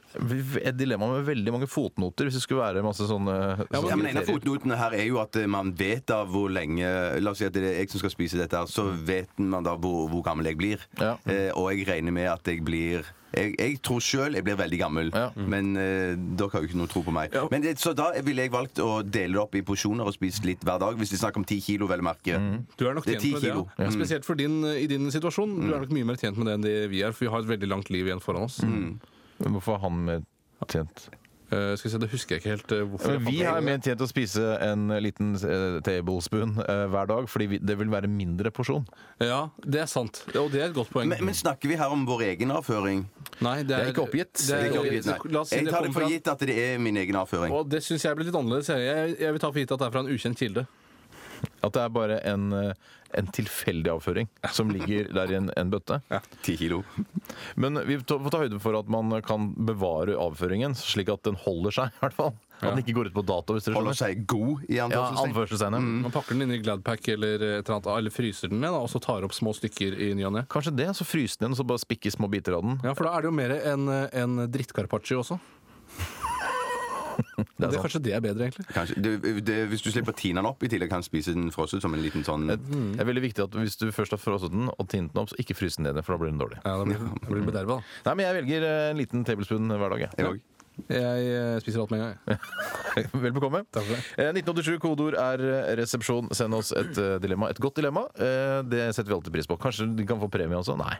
Et dilemma med veldig mange fotnoter hvis det skulle være masse sånne, sånne Ja, men En av kriterier. fotnotene her er jo at eh, man vet da hvor lenge La oss si at det er jeg som skal spise dette, her, så vet man da hvor, hvor gammel jeg blir. Mm. Ja. Eh, og jeg regner med at jeg blir jeg, jeg tror sjøl jeg blir veldig gammel, Ja. men eh, dere har jo ikke noe tro på meg. Men det, Så da ville jeg valgt å dele det opp i porsjoner og spise litt hver dag, hvis det er snakk om ti kilo, vel å merke. Mm. Du er nok Det er tjent ti med det, ja. kilo. Mm. Spesielt for din, eh, i din situasjon. Du er nok mye mer tjent med det enn det vi er, for vi har et veldig langt liv igjen foran oss. Mm. Men Hvorfor har han mer tjent? Eh, skal vi se, Det husker jeg ikke helt eh, hvorfor. jeg Men vi fant har det. mer tjent å spise en liten eh, tablespoon eh, hver dag, fordi vi, det vil være mindre porsjon. Ja, det er sant. Og det er et godt poeng. Men, men snakker vi her om vår egen avføring? Nei, det er, Det er ikke oppgitt. Det er, Ikke oppgitt, nei. Eh, La oss si Jeg det tar det kommer for fra gitt at det er min egen avføring. Og det syns jeg blir litt annerledes. Jeg, jeg, jeg vil ta for gitt at det er fra en ukjent Mm. kilde. At det er bare en, eh, en tilfeldig avføring som ligger der i en, en bøtte. Ti kilo. Men vi ta- får ta høyde for at man kan bevare avføringen, slik at den holder seg. i hvert fall. At den ikke går ut på dato. hvis dere Holder skjønner. seg god, i Ja, anførselstegn. anførselstegn. ja. Man pakker den inn i Gladpack eller, et eller, annet, eller fryser den ned da, og så tar opp små stykker i ny og ne. Kanskje det, så fryse den igjen og så bare spikke små biter av den. Ja, for da er det jo mer enn en drittcarpaccio også. Det er sant. kanskje det er bedre, egentlig. Kanskje. Det, det, hvis du slipper å tine den opp i tillegg, kan du spise den frosset som en liten sånn Det er veldig viktig at Hvis du først har frosset den og tint den opp, så ikke frys den ned igjen, for da blir den dårlig. Ja, Da blir det blir bederva, da. Nei, men Jeg velger eh, en liten tablespoon hver dag. jeg. Jeg òg. Jeg eh, spiser alt med en gang. jeg. [LAUGHS] Vel bekomme. Takk for det. Eh, 1987, kodeord er eh, resepsjon. Send oss et eh, dilemma. Et godt dilemma. Eh, Det setter vi alltid pris på. Kanskje de kan få premie også? Nei.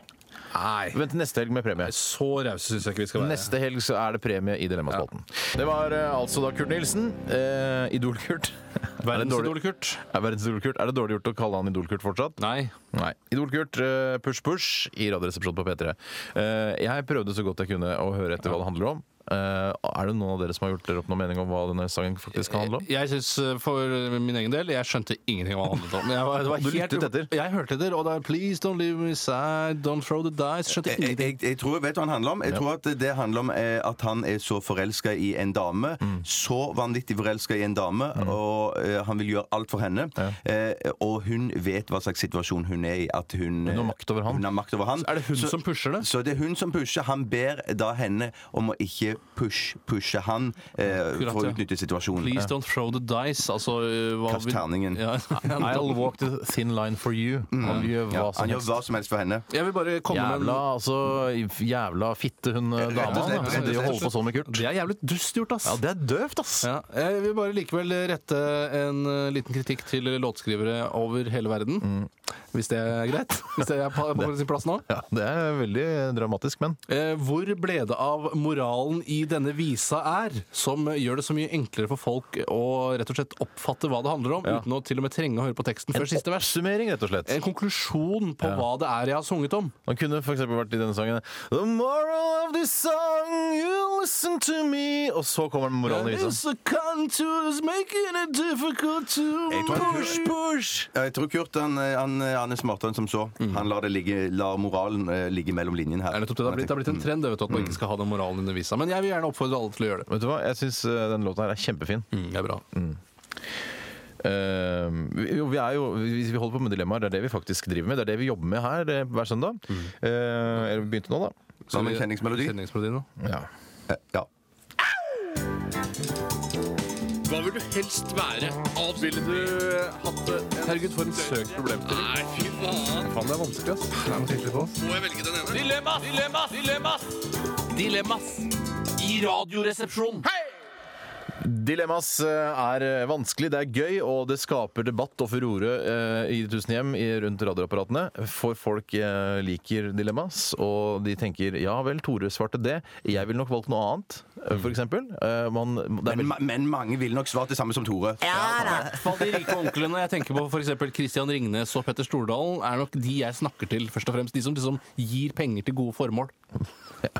Nei. Vent til neste helg med premie. Så rause syns jeg ikke vi skal være. Neste helg så er det premie i Dilemmaspalten. Det var eh, altså da Kurt Nilsen. Eh, Idol-Kurt. [LAUGHS] Er det Verdens dårlig- dårlig kurt. Er verdens Idol-Kurt. Er det dårlig gjort å kalle han Idol-Kurt fortsatt? Nei. Nei. Idol-Kurt, eh, push push i Radioresepsjonen på P3. Eh, Jeg prøvde så godt jeg kunne å høre etter hva det handler om. Eh, Er det noen av dere som har gjort dere opp noen mening om hva denne sangen faktisk skal handle om? Jeg synes eh, For min egen del, jeg skjønte ingenting hva det handlet om. Jeg, var- det var Du helt- lyttet etter? Jeg hørte etter. Og det er 'Please don't leave me sad', 'Don't throw the dice'. Skjønte Jeg, ingenting. jeg, jeg tror jeg vet hva han handler om. Jeg tror at det handler om eh, at han er så forelska i en dame. Så vanvittig forelska i en dame, og eh, han vil gjøre alt for henne. Eh, og hun vet hva slags situasjon hun er i. At hun, Hun har makt over han. Hun har makt over han. Er det hun så, som pusher det? Så det er hun som pusher. Han ber da henne om å ikke push, pushe han eh, for å ja. utnytte situasjonen. Please don't throw the dice. Altså eh, hva eh. Kast vil- terningen. Ja. [LAUGHS] I'll walk the thin line for you. Mm. Han gjør Ja, hva som han gjør helst. hva som helst for henne. Jeg vil bare komme med Jævla, en altså, jævla fitte hun eh, Rett og dama. slett, da, Som rett og driver og slett. holder på sånn med Kurt. Det er jævlig dust gjort, ass. Ja, det er døvt, ass! Ja, jeg vil bare likevel rette en eh, liten kritikk til låtskrivere over hele verden. Hvis det er greit? Hvis det er på, på sin plass nå? Ja, det er veldig dramatisk, men Eh, hvor ble det av moralen i denne visa er, som gjør det så mye enklere for folk å rett og slett oppfatte hva det handler om, uten å til og med trenge å høre på teksten før siste vers? Oppsummering, rett og slett. En konklusjon på hva det er jeg har sunget om. Han kunne for eksempel vært i denne sangen The moral of this song, you listen to me Og så kommer den moralen i It's visen. a contours making it difficult to Jeg tror- push, push. Ja, Jeg tror Kurt han, eh, han, han er smartere enn som så. Mm. Han lar, det ligge, lar moralen eh, ligge mellom linjene her. Det er nettopp det. Det har blitt, det har blitt en trend det, vet du, at man ikke skal ha den moralen under visa. Men jeg vil gjerne oppfordre alle til å gjøre det. Vet du hva, jeg syns denne låten her er kjempefin. Mm, Det er bra. Eh, vi, jo, vi, er jo, vi, vi holder på med dilemmaer, det er det vi faktisk driver med. Det er det vi jobber med her eh, hver søndag. Eh, eller vi begynte nå, da. Hva med kjenningsmelodi? Kjenningsmelodi nå. Ja. Eh, Ja. Hva vil du helst være? Ville du hatt det? Herregud, for en søk problemstilling. Nei, fy faen. Faen, det er vanskelig, ass. Det er noe sikkert på oss. Må jeg velge den ene? Dilemmas! Dilemmas! Dilemmas! Dilemmas i Radioresepsjonen. Dilemmas eh, er vanskelig, det er gøy, og det skaper debatt og furore eh, i tusen hjem i- rundt radioapparatene. For folk eh, liker dilemmas, og de tenker ja vel, Tore svarte det, jeg ville nok valgt noe annet, eh, for eksempel. Eh, man, det er Men, vel... ma- men mange ville nok svart det samme som Tore. Fall de rike onklene jeg tenker på, f.eks. Christian Ringnes og Petter Stordalen, er nok de jeg snakker til, først og fremst. De som liksom gir penger til gode formål.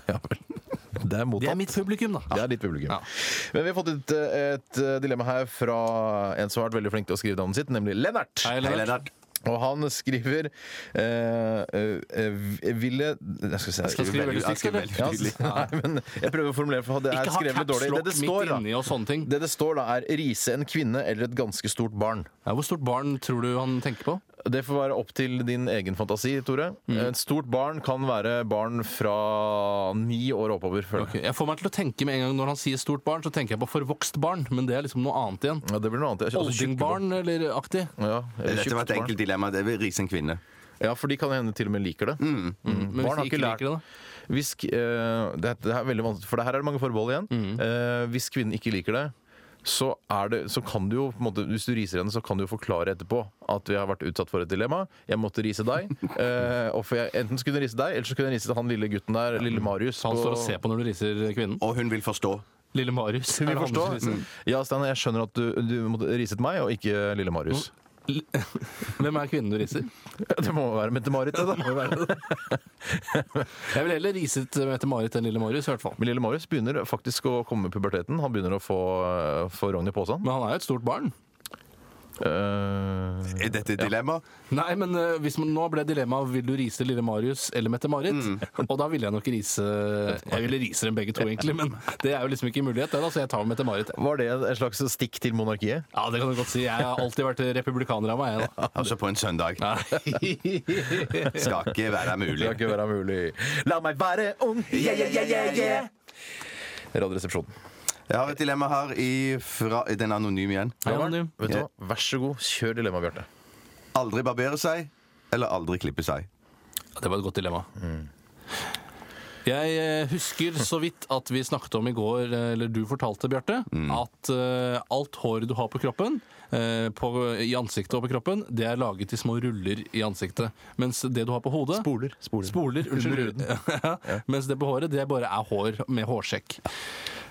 Ja, vel. Det er Det er mottatt. mitt publikum, da. Det er ditt publikum. Ja. Men vi har fått et, eh, et dilemma her fra en som har vært veldig flink til å skrive navnet sitt, nemlig Lennart. Hei, Hei, Lennart. Lennart. Og han skriver eh, eh, eh, Ville Jeg skal se Skal jeg skrive veldig stygt, skriver eller? veldig Ja, [LAUGHS] tydelig. Nei, men jeg prøver å formulere for det er Ikke ha skrevet litt caps dårlig. lock Det det midt står, inni og da, sånne ting. det det står da, er 'rise en kvinne eller et ganske stort barn'. Ja, hvor stort barn tror du han tenker på? Det får være opp til din egen fantasi, Tore. Mm. Et stort barn kan være barn fra ni år og oppover, føler jeg. Ok, Jeg får meg til å tenke med en gang Når han sier stort barn, så tenker jeg på forvokst barn. Men det er liksom noe annet igjen. Ja, det blir noe annet. Jeg- altså, Oldingbarn eller aktig. Ja, eller Dette var tjukt et barn. enkelt dilemma. Det vil rise en kvinne. Ja, for de kan hende til og med liker det. Mm. Men Barn hvis har de ikke lært- liker det, da? Hvis, eh, det, det er veldig vanskelig, for det her er det mange forbehold igjen. Mm. Eh, hvis kvinnen ikke liker det, så, er det, så kan du jo på en måte, Hvis du riser henne, så kan du jo forklare etterpå at vi har vært utsatt for et dilemma. Jeg måtte rise deg. eh, og for jeg, enten skulle jeg rise deg, eller så kunne jeg rise han lille gutten der, lille Marius. Mm. Han står og ser på når du riser kvinnen. Og hun vil forstå. Lille Marius. Hun er vil det han forstå. som riser. Mm. Ja, Steinar, jeg skjønner at du, du måtte riset meg, og ikke lille Marius. Mm. Hvem er kvinnen du riser? [LAUGHS] Det må være Mette-Marit, det, da. Jeg ville heller riset Mette-Marit enn Lille Marius. i hvert fall Men lille Marius begynner faktisk å komme med puberteten. Han begynner å få, få rogn i posen. Men han er jo et stort barn. Eh, Er dette et dilemma? Nei, men eh, hvis man, nå ble dilemmaet vil du rise Lille Marius eller Mette-Marit. [LAUGHS] Og da ville jeg nok rise Jeg ville rise dem begge to, egentlig, men det er jo liksom ikke en mulighet, det, da, så jeg tar Mette-Marit. jeg. Var det et slags stikk til [LAUGHS] monarkiet? Ja, det kan du godt si. Jeg har alltid vært republikaner av meg, jeg, da. Altså på en søndag. Nei. [LAUGHS] Skal ikke være mulig. Det kan ikke være mulig. La meg være ung! Yeah, yeah, yeah, yeah, yeah. Radioresepsjonen. Jeg har et dilemma her i fra den anonyme igjen. Hei, Anonym. Vet du hva? Vær så god, kjør dilemma, Bjarte. Aldri barbere seg, eller aldri klippe seg. Ja, Det var et godt dilemma. Jeg eh, husker så vidt at vi snakket om i går, eh, eller du fortalte, Bjarte, at eh, alt håret du har på kroppen, eh, på, i ansiktet og på kroppen, det er laget i små ruller i ansiktet. Mens det du har på hodet Spoler, spoler. Under unnskyld. [LAUGHS] ja. Mens det på håret, det bare er hår med hårsekk.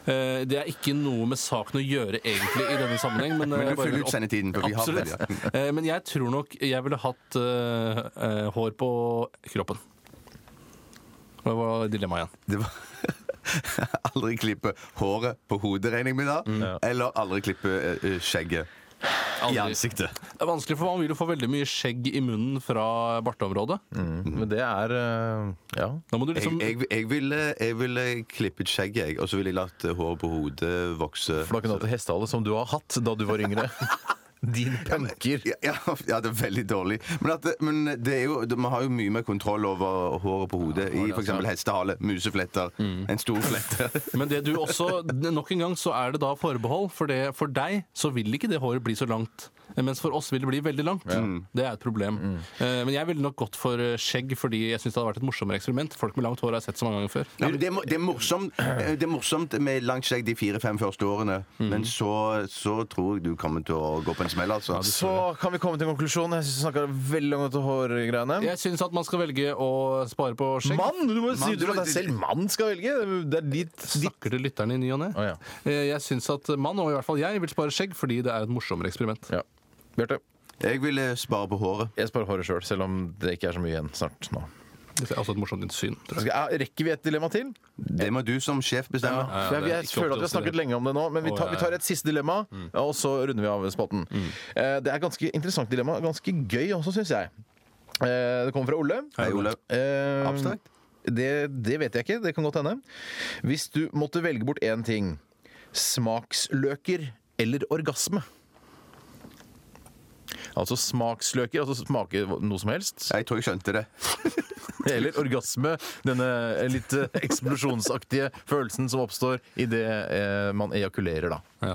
Eh, Det er ikke noe med saken å gjøre egentlig i denne sammenheng, men, eh, Men du jeg bare vil fyller ut opp- sendetiden. for vi har Absolutt. det, ja. Eh, Men jeg tror nok jeg ville hatt eh, eh, hår på kroppen. Hva var dilemmaet igjen? Det var [LAUGHS] Aldri klippe håret på hodet, regner jeg med da. Eller aldri klippe eh, skjegget i Aldri. ansiktet. Det er vanskelig, for man vil jo få veldig mye skjegg i munnen fra barteområdet. Men det er eh, Ja. Da må du Jeg, liksom jeg, jeg, ville, jeg ville klippet skjegget, jeg. Og så ville jeg latt eh, håret på hodet vokse. For da kunne du hatt hestehale som du har hatt da du var yngre. [LAUGHS] Din punker. Ja, ja, [LAUGHS] ja, det er veldig dårlig. Men, at, det- men det er jo, det- man har jo mye mer kontroll over håret på hodet i f.eks. hestehale, musefletter, en stor flette. Men det du også, nok en gang så er det da forbehold. For, det, for deg så vil ikke det håret bli så langt. Mens for oss vil det bli veldig langt. Det er et problem. Mm. Eh, Men jeg ville nok gått for eh, skjegg, fordi jeg syns det hadde vært et morsommere eksperiment. Folk med langt hår har jeg sett så mange ganger før. Ja, men det, er, mo- det, er morsomt, eh, det er morsomt med langt skjegg de fire-fem første årene, Mm. men så, så tror jeg du kommer til å gå på en smell, altså. Så kan vi komme til en konklusjon. Jeg syns du snakka veldig langt om hårgreiene. Jeg syns at man skal velge å spare på skjegg. Mann! Du må jo si Mann, du at deg selv mann skal velge. Det er ditt, ditt. Snakker til lytterne i ny og ne. Å, ja. Eh, Jeg syns at man, og i hvert fall jeg, vil spare skjegg fordi det er et morsommere eksperiment. Ja. Bjarte, Jeg ville spare på håret. jeg sparer håret sjøl, selv om det ikke er så mye igjen snart nå. Det er også et morsomt syn. Tror jeg. Skal jeg- Rekker vi et dilemma til? Det må du som sjef bestemme. Ja, ja, For jeg det er jeg ikke føler at vi har opp til oss i det snakket lenge om det nå, men vi Å, tar, ja, Mm. vi tar et siste dilemma, og så runder vi av spotten. Eh, Det er ganske interessant dilemma. Ganske gøy også, syns jeg. Eh, Det kommer fra Ole. Hei, Ole. Eh, Abstrakt? Det, det vet jeg ikke. Det kan godt hende. Hvis du måtte velge bort én ting smaksløker eller orgasme? Altså smaksløker, altså smake noe som helst. Jeg tror jeg skjønte det. Eller orgasme, denne litt eh, eksplosjonsaktige følelsen som oppstår idet eh, man ejakulerer, da. Ja.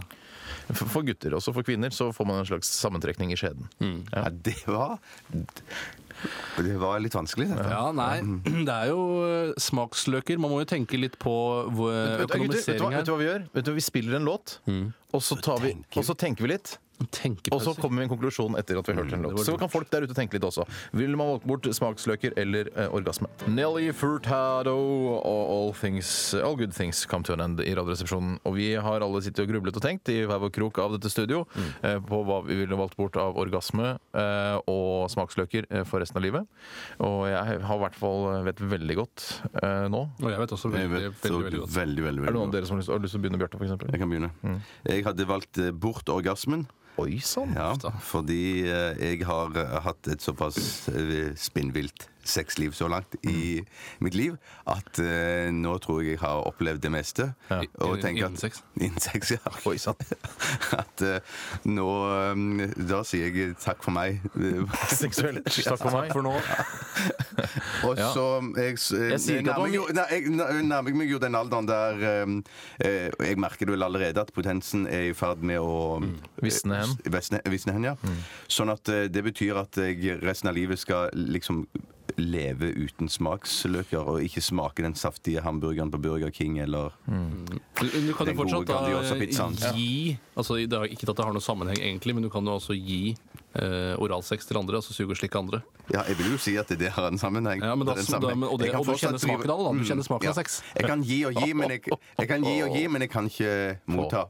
For for gutter, også for kvinner, så får man en slags sammentrekning i skjeden. Mm. Ja, det var Det var litt vanskelig, dette. Ja, nei, mm. [CLEARS THROAT] det er jo eh, smaksløker. Man må jo tenke litt på hvor- Vet, du- gutter, vet, du hva, økonomisering vet du her. Mm. hva vi gjør? Vet du, hva, vi spiller en låt, og, så tar vi, og så tenker vi litt. Og så Tenkepauser. kommer vi med en konklusjon etter at vi har hørt en låt. Så kan folk der ute tenke litt også. Vil man valgt bort smaksløker eller eh, orgasme? Nelly Furtado og all, things, all Good Things Come to an End i Radioresepsjonen. Og vi har alle sittet og grublet og tenkt i hver vår krok av dette studio eh, på hva vi ville valgt bort av orgasme eh, og smaksløker eh, for resten av livet. Og jeg har i hvert fall vet veldig godt eh, nå. Og jeg vet også Jeg veldig, vet, så veldig, veldig, veldig, godt. veldig, veldig, Mm. Er det noen av dere som har lyst, har lyst til å begynne, Bjarte? For eksempel? Jeg kan begynne. Jeg hadde valgt eh, bort orgasmen. Oi sann. Ja, fordi eh, jeg har eh, hatt et såpass eh, spinnvilt sexliv så langt Mm. i mitt liv at eh, nå tror jeg jeg har opplevd det meste. Og Innen- tenker innen at sex? Innen [LAUGHS] sex, ja. Oi sann. [LAUGHS] At eh, nå eh, Da sier jeg takk for [LAUGHS] meg. Seksuelt. Takk for meg. For nå Og så jeg, s- eh, Jeg sier ikke at nærmer det meg jo- var nei, jeg nær- nærmer meg jo den alderen der um, eh, og Jeg merker det vel allerede at potensen er i ferd med å Mm. Visne hen. Eh, Visne, visne hen, ja. Sånn at eh, det betyr at jeg resten av livet skal liksom leve uten smaksløker og ikke smake den saftige hamburgeren på Burger King eller Du, du kan jo Den fortsatt gode Grandiosa-pizzaen. da gi altså, det er Ikke at det har noen sammenheng, egentlig, men du kan jo også gi eh, oralsex til andre. Altså suge og slikke andre. Ja, jeg vil jo si at det har en sammenheng. Ja, men da- Det er en så da- men- og det- Jeg kan og du fortsatt kjenner smaken drive- av det, da. Du Mm, kjenner smaken av ja. sex. Jeg kan gi og gi, men jeg, jeg kan gi og gi, men jeg kan ikke motta.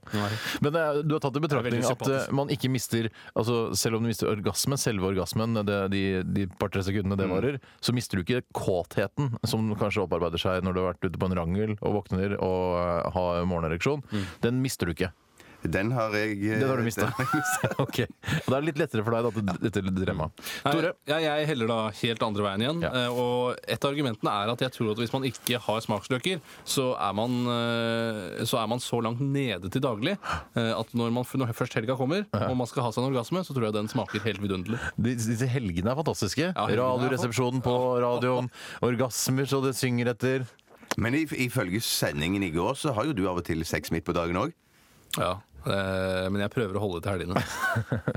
Men eh, du har tatt i betraktning Det er veldig at eh, man ikke mister altså Selv om du mister orgasmen, selve orgasmen, det, de, de par-tre sekundene Mm. det varer, så mister du ikke kåtheten som kanskje opparbeider seg når du har vært ute på en rangel og våkner og eh, har morgenereksjon. Mm. Den mister du ikke. Den har jeg eh, Den har du mista. [LAUGHS] ok. Og det er litt lettere for deg da, til dette dilemmaet. Tore? Nei, Ja, jeg heller da helt andre veien igjen. Ja. Eh, Og et av argumentene er at jeg tror at hvis man ikke har smaksløker, så er man, eh, så, er man så langt nede til daglig eh, at når, man, når først helga kommer, og man skal ha seg en orgasme, så tror jeg den smaker helt vidunderlig. De- Disse helgene er fantastiske. helgene er Radioresepsjonen på radioen. Orgasmer så det synger etter. [LAUGHS] Men if- ifølge sendingen i går så har jo du av og til sex midt på dagen òg. Ja. Eh, Men jeg prøver å holde det til [LAUGHS] helgene.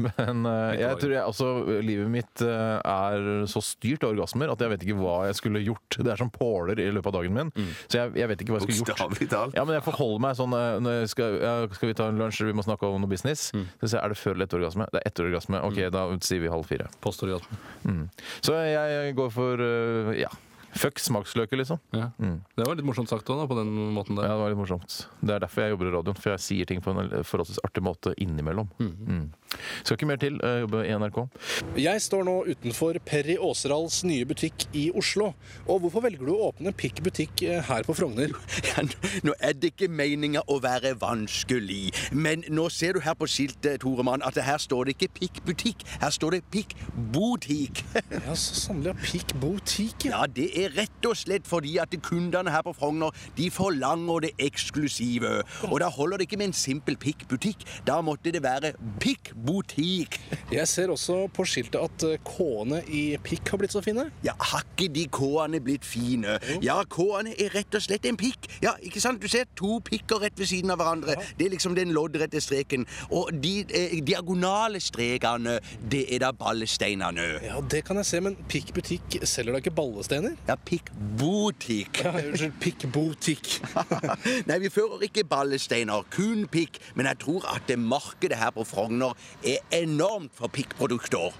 Men eh, jeg tror jeg også livet mitt eh, er så styrt av orgasmer at jeg vet ikke hva jeg skulle gjort. Det er som påler i løpet av dagen min. Så jeg, jeg vet ikke hva jeg skulle gjort. Bokstavelig talt. Ja, men jeg forholder meg sånn eh, når jeg skal, ja, skal vi ta en lunsj, vi må snakke om noe business. Så sier jeg, er det før eller etter orgasme? Det er etter orgasme. Ok, da sier vi halv fire. Postorgasme. Så jeg går for eh, ja. Fuck smaksløker, liksom. Ja. Det var litt morsomt sagt òg, på den måten Ja, Det der. var litt morsomt. Det er derfor jeg jobber i radioen. For jeg sier ting på en forholdsvis artig måte innimellom. Mm. Skal ikke mer til. eh, Jobbe i NRK. Jeg står nå utenfor Perry Åserals nye butikk i Oslo. Og hvorfor velger du å åpne Pikk butikk eh, her på Frogner? Ja, nå- Nå er det ikke meninga å være vanskelig, men nå ser du her på skiltet, Toremann, at her står det ikke Pikk butikk, her står det Pikk botik. Ja, så sannelig. ja, Pikk butikk, ja. [LAUGHS] Ja, det er rett og slett fordi at kundene her på Frogner, de forlanger det eksklusive. Og da holder det ikke med en simpel Pikk butikk, da måtte det være Pikk botik. Jeg ser også på skiltet at eh, K-ene i Pikk har blitt så fine. Ja, har ikke de K-ene blitt fine? Ja, K-ene er rett og slett en pikk. Ja, ikke sant? Du ser to pikker rett ved siden av hverandre. Det er liksom den loddrette streken. Og de eh, diagonale strekene, det er da ballesteinene. Ja, det kan jeg se, men Pikk butikk selger da ikke ballesteiner? Ja, pikk-botik. Ja, unnskyld. Pikk butikk. [LAUGHS] Nei, vi fører ikke ballesteiner, kun pikk. Men jeg tror at det markedet her på Frogner er enormt for pikkprodukter.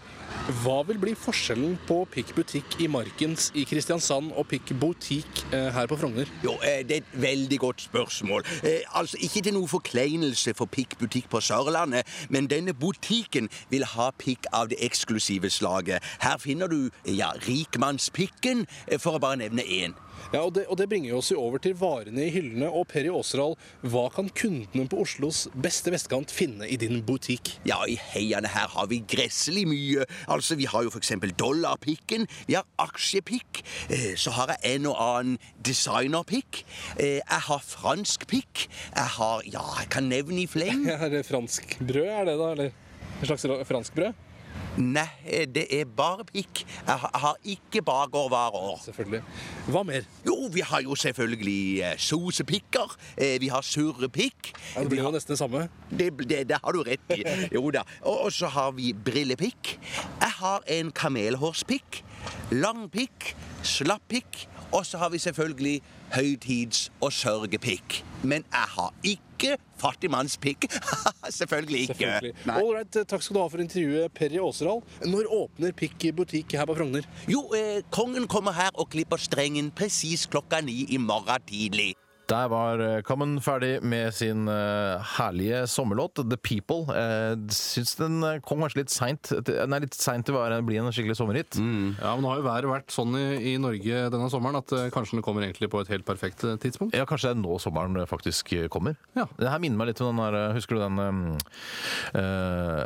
Hva vil bli forskjellen på Pikk butikk i Markens i Kristiansand og Pikk butikk eh, her på Frogner? Jo, eh, det er et veldig godt spørsmål. Eh, altså, Ikke til noe forkleinelse for Pikk butikk på Sørlandet, men denne butikken vil ha pikk av det eksklusive slaget. Her finner du eh, ja, rikmannspikken, eh, for å bare nevne én. Ja, og det, og det bringer oss jo over til varene i hyllene og Perry Åseral. Hva kan kundene på Oslos beste vestkant finne i din butikk? Ja, i heiene her har vi gresselig mye. Altså, Vi har jo f.eks. dollarpikken, vi har aksjepikk, eh, så har jeg en og annen designerpikk. Eh, jeg har fransk pikk. Jeg har Ja, jeg kan nevne i fleng. Er det fransk brød, er det da? Eller en slags ra- fransk brød? Nei, eh, det er bare pikk. Jeg har- har ikke bakervarer. Selvfølgelig. Hva mer? Jo, vi har jo selvfølgelig eh, sosepikker. eh, Vi har surrepikk. Ja, det blir jo nesten det samme. Det, det, det har du rett i. Jo da. Og og så har vi brillepikk. Jeg har en kamelhårspikk. Langpikk. Slappikk. Og så har vi selvfølgelig høytids- og sørgepikk. Men jeg har ikke fattigmannspikk. [LAUGHS] selvfølgelig ikke. Selvfølgelig. Nei. All right, eh, takk skal du ha for intervjuet, Perry Åseral. Når åpner Pikk butikk her på Frogner? Jo, eh, kongen kommer her og klipper strengen presis klokka ni i morgen tidlig. Der var eh, Common ferdig med sin eh, herlige sommerlåt, 'The People'. Eh, syns den eh, kom kanskje litt seint. Den er litt seint til å være- bli en skikkelig sommerhit. Ja, men Nå har jo været vært sånn i, i Norge denne sommeren at eh, kanskje den kommer egentlig på et helt perfekt eh, tidspunkt. Ja, Kanskje det er nå sommeren eh, faktisk kommer. Ja. Det her minner meg litt om den der Husker du den um, eh,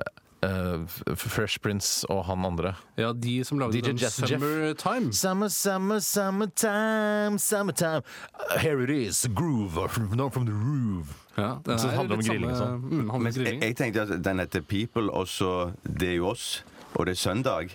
eh, F- Fresh Prince og han andre? Ja, de som lagde DJ den Jazz Jeff. Summertime. Summer, summer, summertime, summertime. Here it is, groove, not from the roof. Ja, den Så det er handler om litt grilling og samme- sånn. Mm, handler om Jeg, grilling. jeg tenkte at den heter People, og så Det er jo oss, og det er søndag.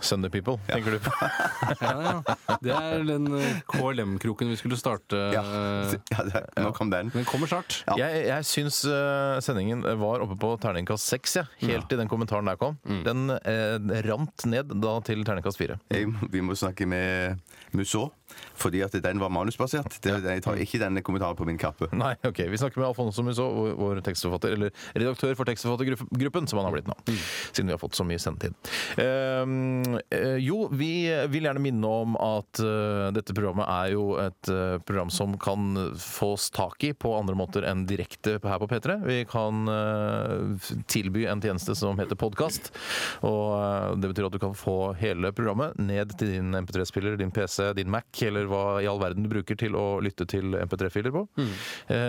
Sunday People, tenker du på? Ja, ja. Det er den eh, KLM-kroken vi skulle starte. Ja, eh, [LAUGHS] ja det, nå kom den. Den kommer snart. Ja. Jeg, jeg syns eh, sendingen var oppe på terningkast seks, ja. helt til den kommentaren der kom. Den eh, rant ned da til terningkast fire. [LAUGHS] Jeg, vi må snakke med Musso, fordi at den var manusbasert. Det, jeg tar ikke denne kommentaren på min kappe. [LAUGHS] Nei, ok. Vi snakker med Alfonso Musso, vår- vår tekstforfatter, eller redaktør for tekstforfattergruppen, som han har blitt nå. Siden vi har fått så mye sendetid. Ehm, eh, jo, vi vil gjerne minne om at eh, dette programmet er jo et eh, program som kan fås tak i på andre måter enn direkte her på P3. Vi kan eh, f- tilby en tjeneste som heter podkast. Og eh, det betyr at du kan få hele programmet ned til din MP3-spiller, din PC, din Mac, eller hva i all verden du bruker til å lytte til MP3-filer på. Eh,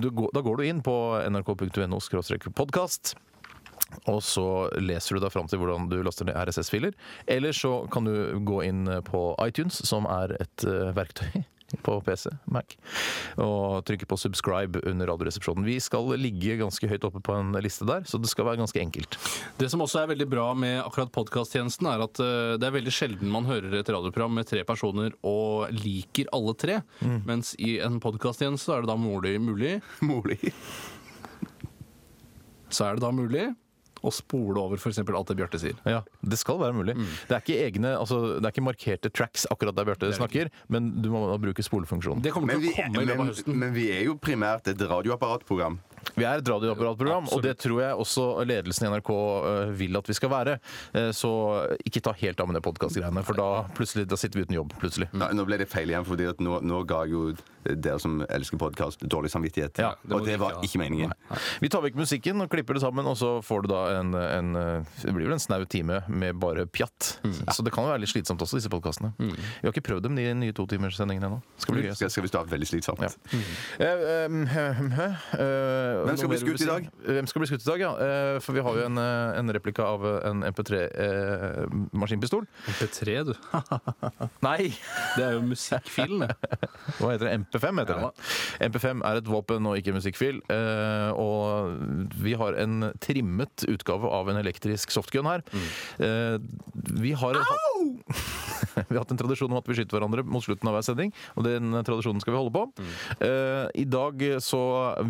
Du, går- da går du inn på nrk.no-podkast. Og så leser du deg fram til hvordan du laster ned RSS-filer. Eller så kan du gå inn på iTunes, som er et eh, verktøy [LAUGHS] på PC, Mac, og trykke på 'subscribe' under Radioresepsjonen. Vi skal ligge ganske høyt oppe på en liste der, så det skal være ganske enkelt. Det som også er veldig bra med akkurat podkasttjenesten, er at eh, det er veldig sjelden man hører et radioprogram med tre personer og liker alle tre. Mm. Mens i en podkasttjeneste er det da mulig, mulig Mulig. Så er det da mulig å spole over f.eks. alt det Bjarte sier. Ja, Det skal være mulig. Det, er ikke egne, altså, det er ikke markerte tracks akkurat der Bjarte snakker, men du må da bruke spolefunksjonen. Det kommer Men til vi, å komme i løpet av men, høsten. men vi er jo primært et radioapparatprogram. Vi er et radioapparatprogram, og Absolutt. det tror jeg også ledelsen i NRK eh, vil at vi skal være. Eh, Så ikke ta helt av med det podkastgreiene, for da, plutselig, da sitter vi uten jobb, plutselig. Nå, nå ble det feil igjen, fordi at nå, nå ga jeg jo dere som elsker podkast, dårlig samvittighet. Ja, det må og du det ikke var ha. ikke meningen. Vi tar vekk musikken og klipper det sammen, og så får du da en, en eh, Det blir vel en snau time med bare pjatt. Mm. Så det kan jo være litt slitsomt også, disse podkastene. Vi har ikke prøvd dem, de nye totimerssendingene ennå. Skal bli gøy. Skal, skal vi starte veldig slitsomt? Ja. Eh, um, hm, hm, eh, Mm. Hvem skal noe bli mer du skutt vil i si? dag? Hvem skal bli skutt i dag, ja. Eh, For vi har jo en, eh, en replika av eh, en eh, MP3-maskinpistol. MP3, [LAUGHS] du. Nei! Det er jo musikkfilen, det. Hva heter det? MP5 heter Ja. det. MP5 er et våpen og ikke en musikkfil. Eh, og vi har en trimmet utgave av en elektrisk softgun her. Eh, vi har [LAUGHS] Vi har hatt en tradisjon om at vi skyter hverandre mot slutten av hver sending, og den tradisjonen skal vi holde på. Eh, I dag så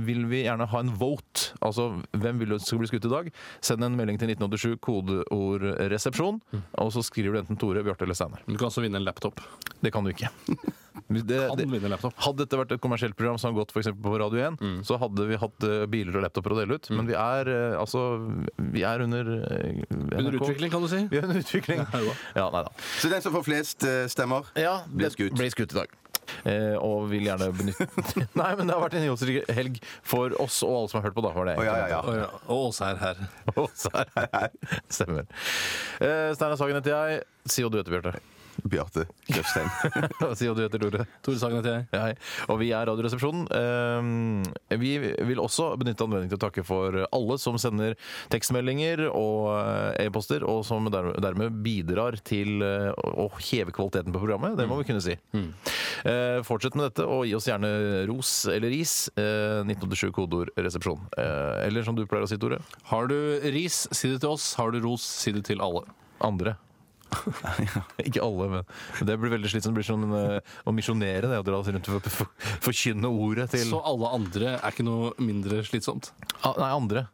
vil vi gjerne ha en vote, altså hvem vil du skal bli skutt i dag? Send en melding til 1987, kodeord 'resepsjon', og så skriver du enten Tore, Bjarte eller Steinar. Du kan også vinne en laptop. Det kan du ikke. [LAUGHS] Det, det, vinne laptop. hadde dette vært et kommersielt program som hadde gått for eksempel på Radio 1, så hadde vi hatt eh, biler og laptoper å dele ut. Men vi er eh, altså Vi er under eh, Under NRK. utvikling, kan du si. [LAUGHS] Vi er under utvikling. [LAUGHS] Ja, nei da. Så den som får flest eh, stemmer, blir det- skutt. Blir skutt i dag. Eh, og vil gjerne benytte [LAUGHS] Nei, men det har vært en innholdsrik helg for oss og alle som har hørt på, da. Var det Å, ja, ja, ja. Å ja, Og Åse er her. [LAUGHS] Og så er jeg- Stemmer. Eh, Steinar Sagen heter jeg. Si hva du heter, Bjarte. [LAUGHS] Bjarte Tjøstheim. si hva du heter, Tore. Tore Sagen heter jeg. [LAUGHS] Hei. Og vi er Radioresepsjonen. Eh, Vi vil også benytte anledningen til å takke for alle som sender tekstmeldinger og eh, e-poster, og som der- dermed bidrar til eh, å å heve kvaliteten på programmet. Det må vi kunne si. Eh, Fortsett med dette, og gi oss gjerne ros eller ris. Eh, 1987 kodeord resepsjon. Eh, Eller som du pleier å si, Tore. Har du ris, si det til oss. Har du ros, si det til alle. Andre. Ikke alle, men det blir veldig slitsomt. Det blir sånn eh, å misjonere, det. Å dra rundt og for- for- forkynne ordet til Så alle andre er ikke noe mindre slitsomt. Ah, Nei, andre.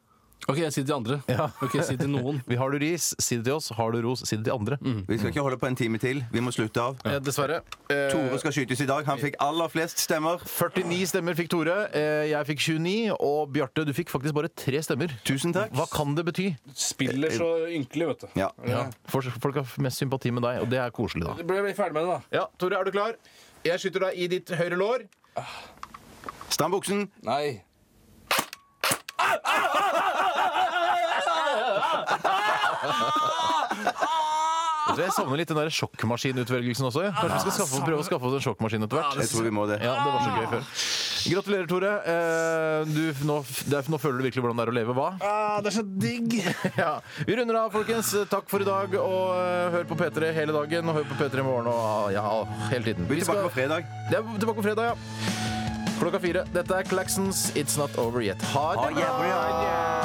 OK, jeg sier til de andre. Ja. [LAUGHS] OK, jeg sier til noen. Mm. Vi har du ris, si det til oss. Har du ros, si det til andre. Vi skal ikke holde på en time til. Vi må slutte av. Eh, dessverre. Eh, Tore skal skytes i dag. Han fikk aller flest stemmer. 49 stemmer fikk Tore. Eh, jeg fikk 29. Og Bjarte, du fikk faktisk bare tre stemmer. Tusen takk. Hva kan det bety? Spiller så ynkelig, vet du. Ja. For, folk har mest sympati med deg, og det er koselig, da. Ble vi ferdig med det, da? Ja, Tore, er du klar? Jeg skyter deg i ditt høyre lår. Strambuksen. Nei. Vet du, Jeg savner litt den der sjokkmaskinutvelgelsen også. jeg. Kanskje vi skal skaffe, prøve å skaffe oss en sjokkmaskin etter hvert. Jeg tror vi må det. Ja, det var så Ah. gøy før. Gratulerer, Tore. Eh, Du, nå, det er- nå føler du virkelig hvordan det er å leve hva? Ah, det er så digg! [LAUGHS] Ja. Vi runder av, folkens. Takk for i dag. Og eh, hør på P3 hele dagen, og hør på P3 i morgen og ah, ja, hele tiden. Vi er tilbake på fredag. Det er tilbake på fredag, ja. Klokka fire. Dette er Claxons It's Not Over Yet. Ha det bra!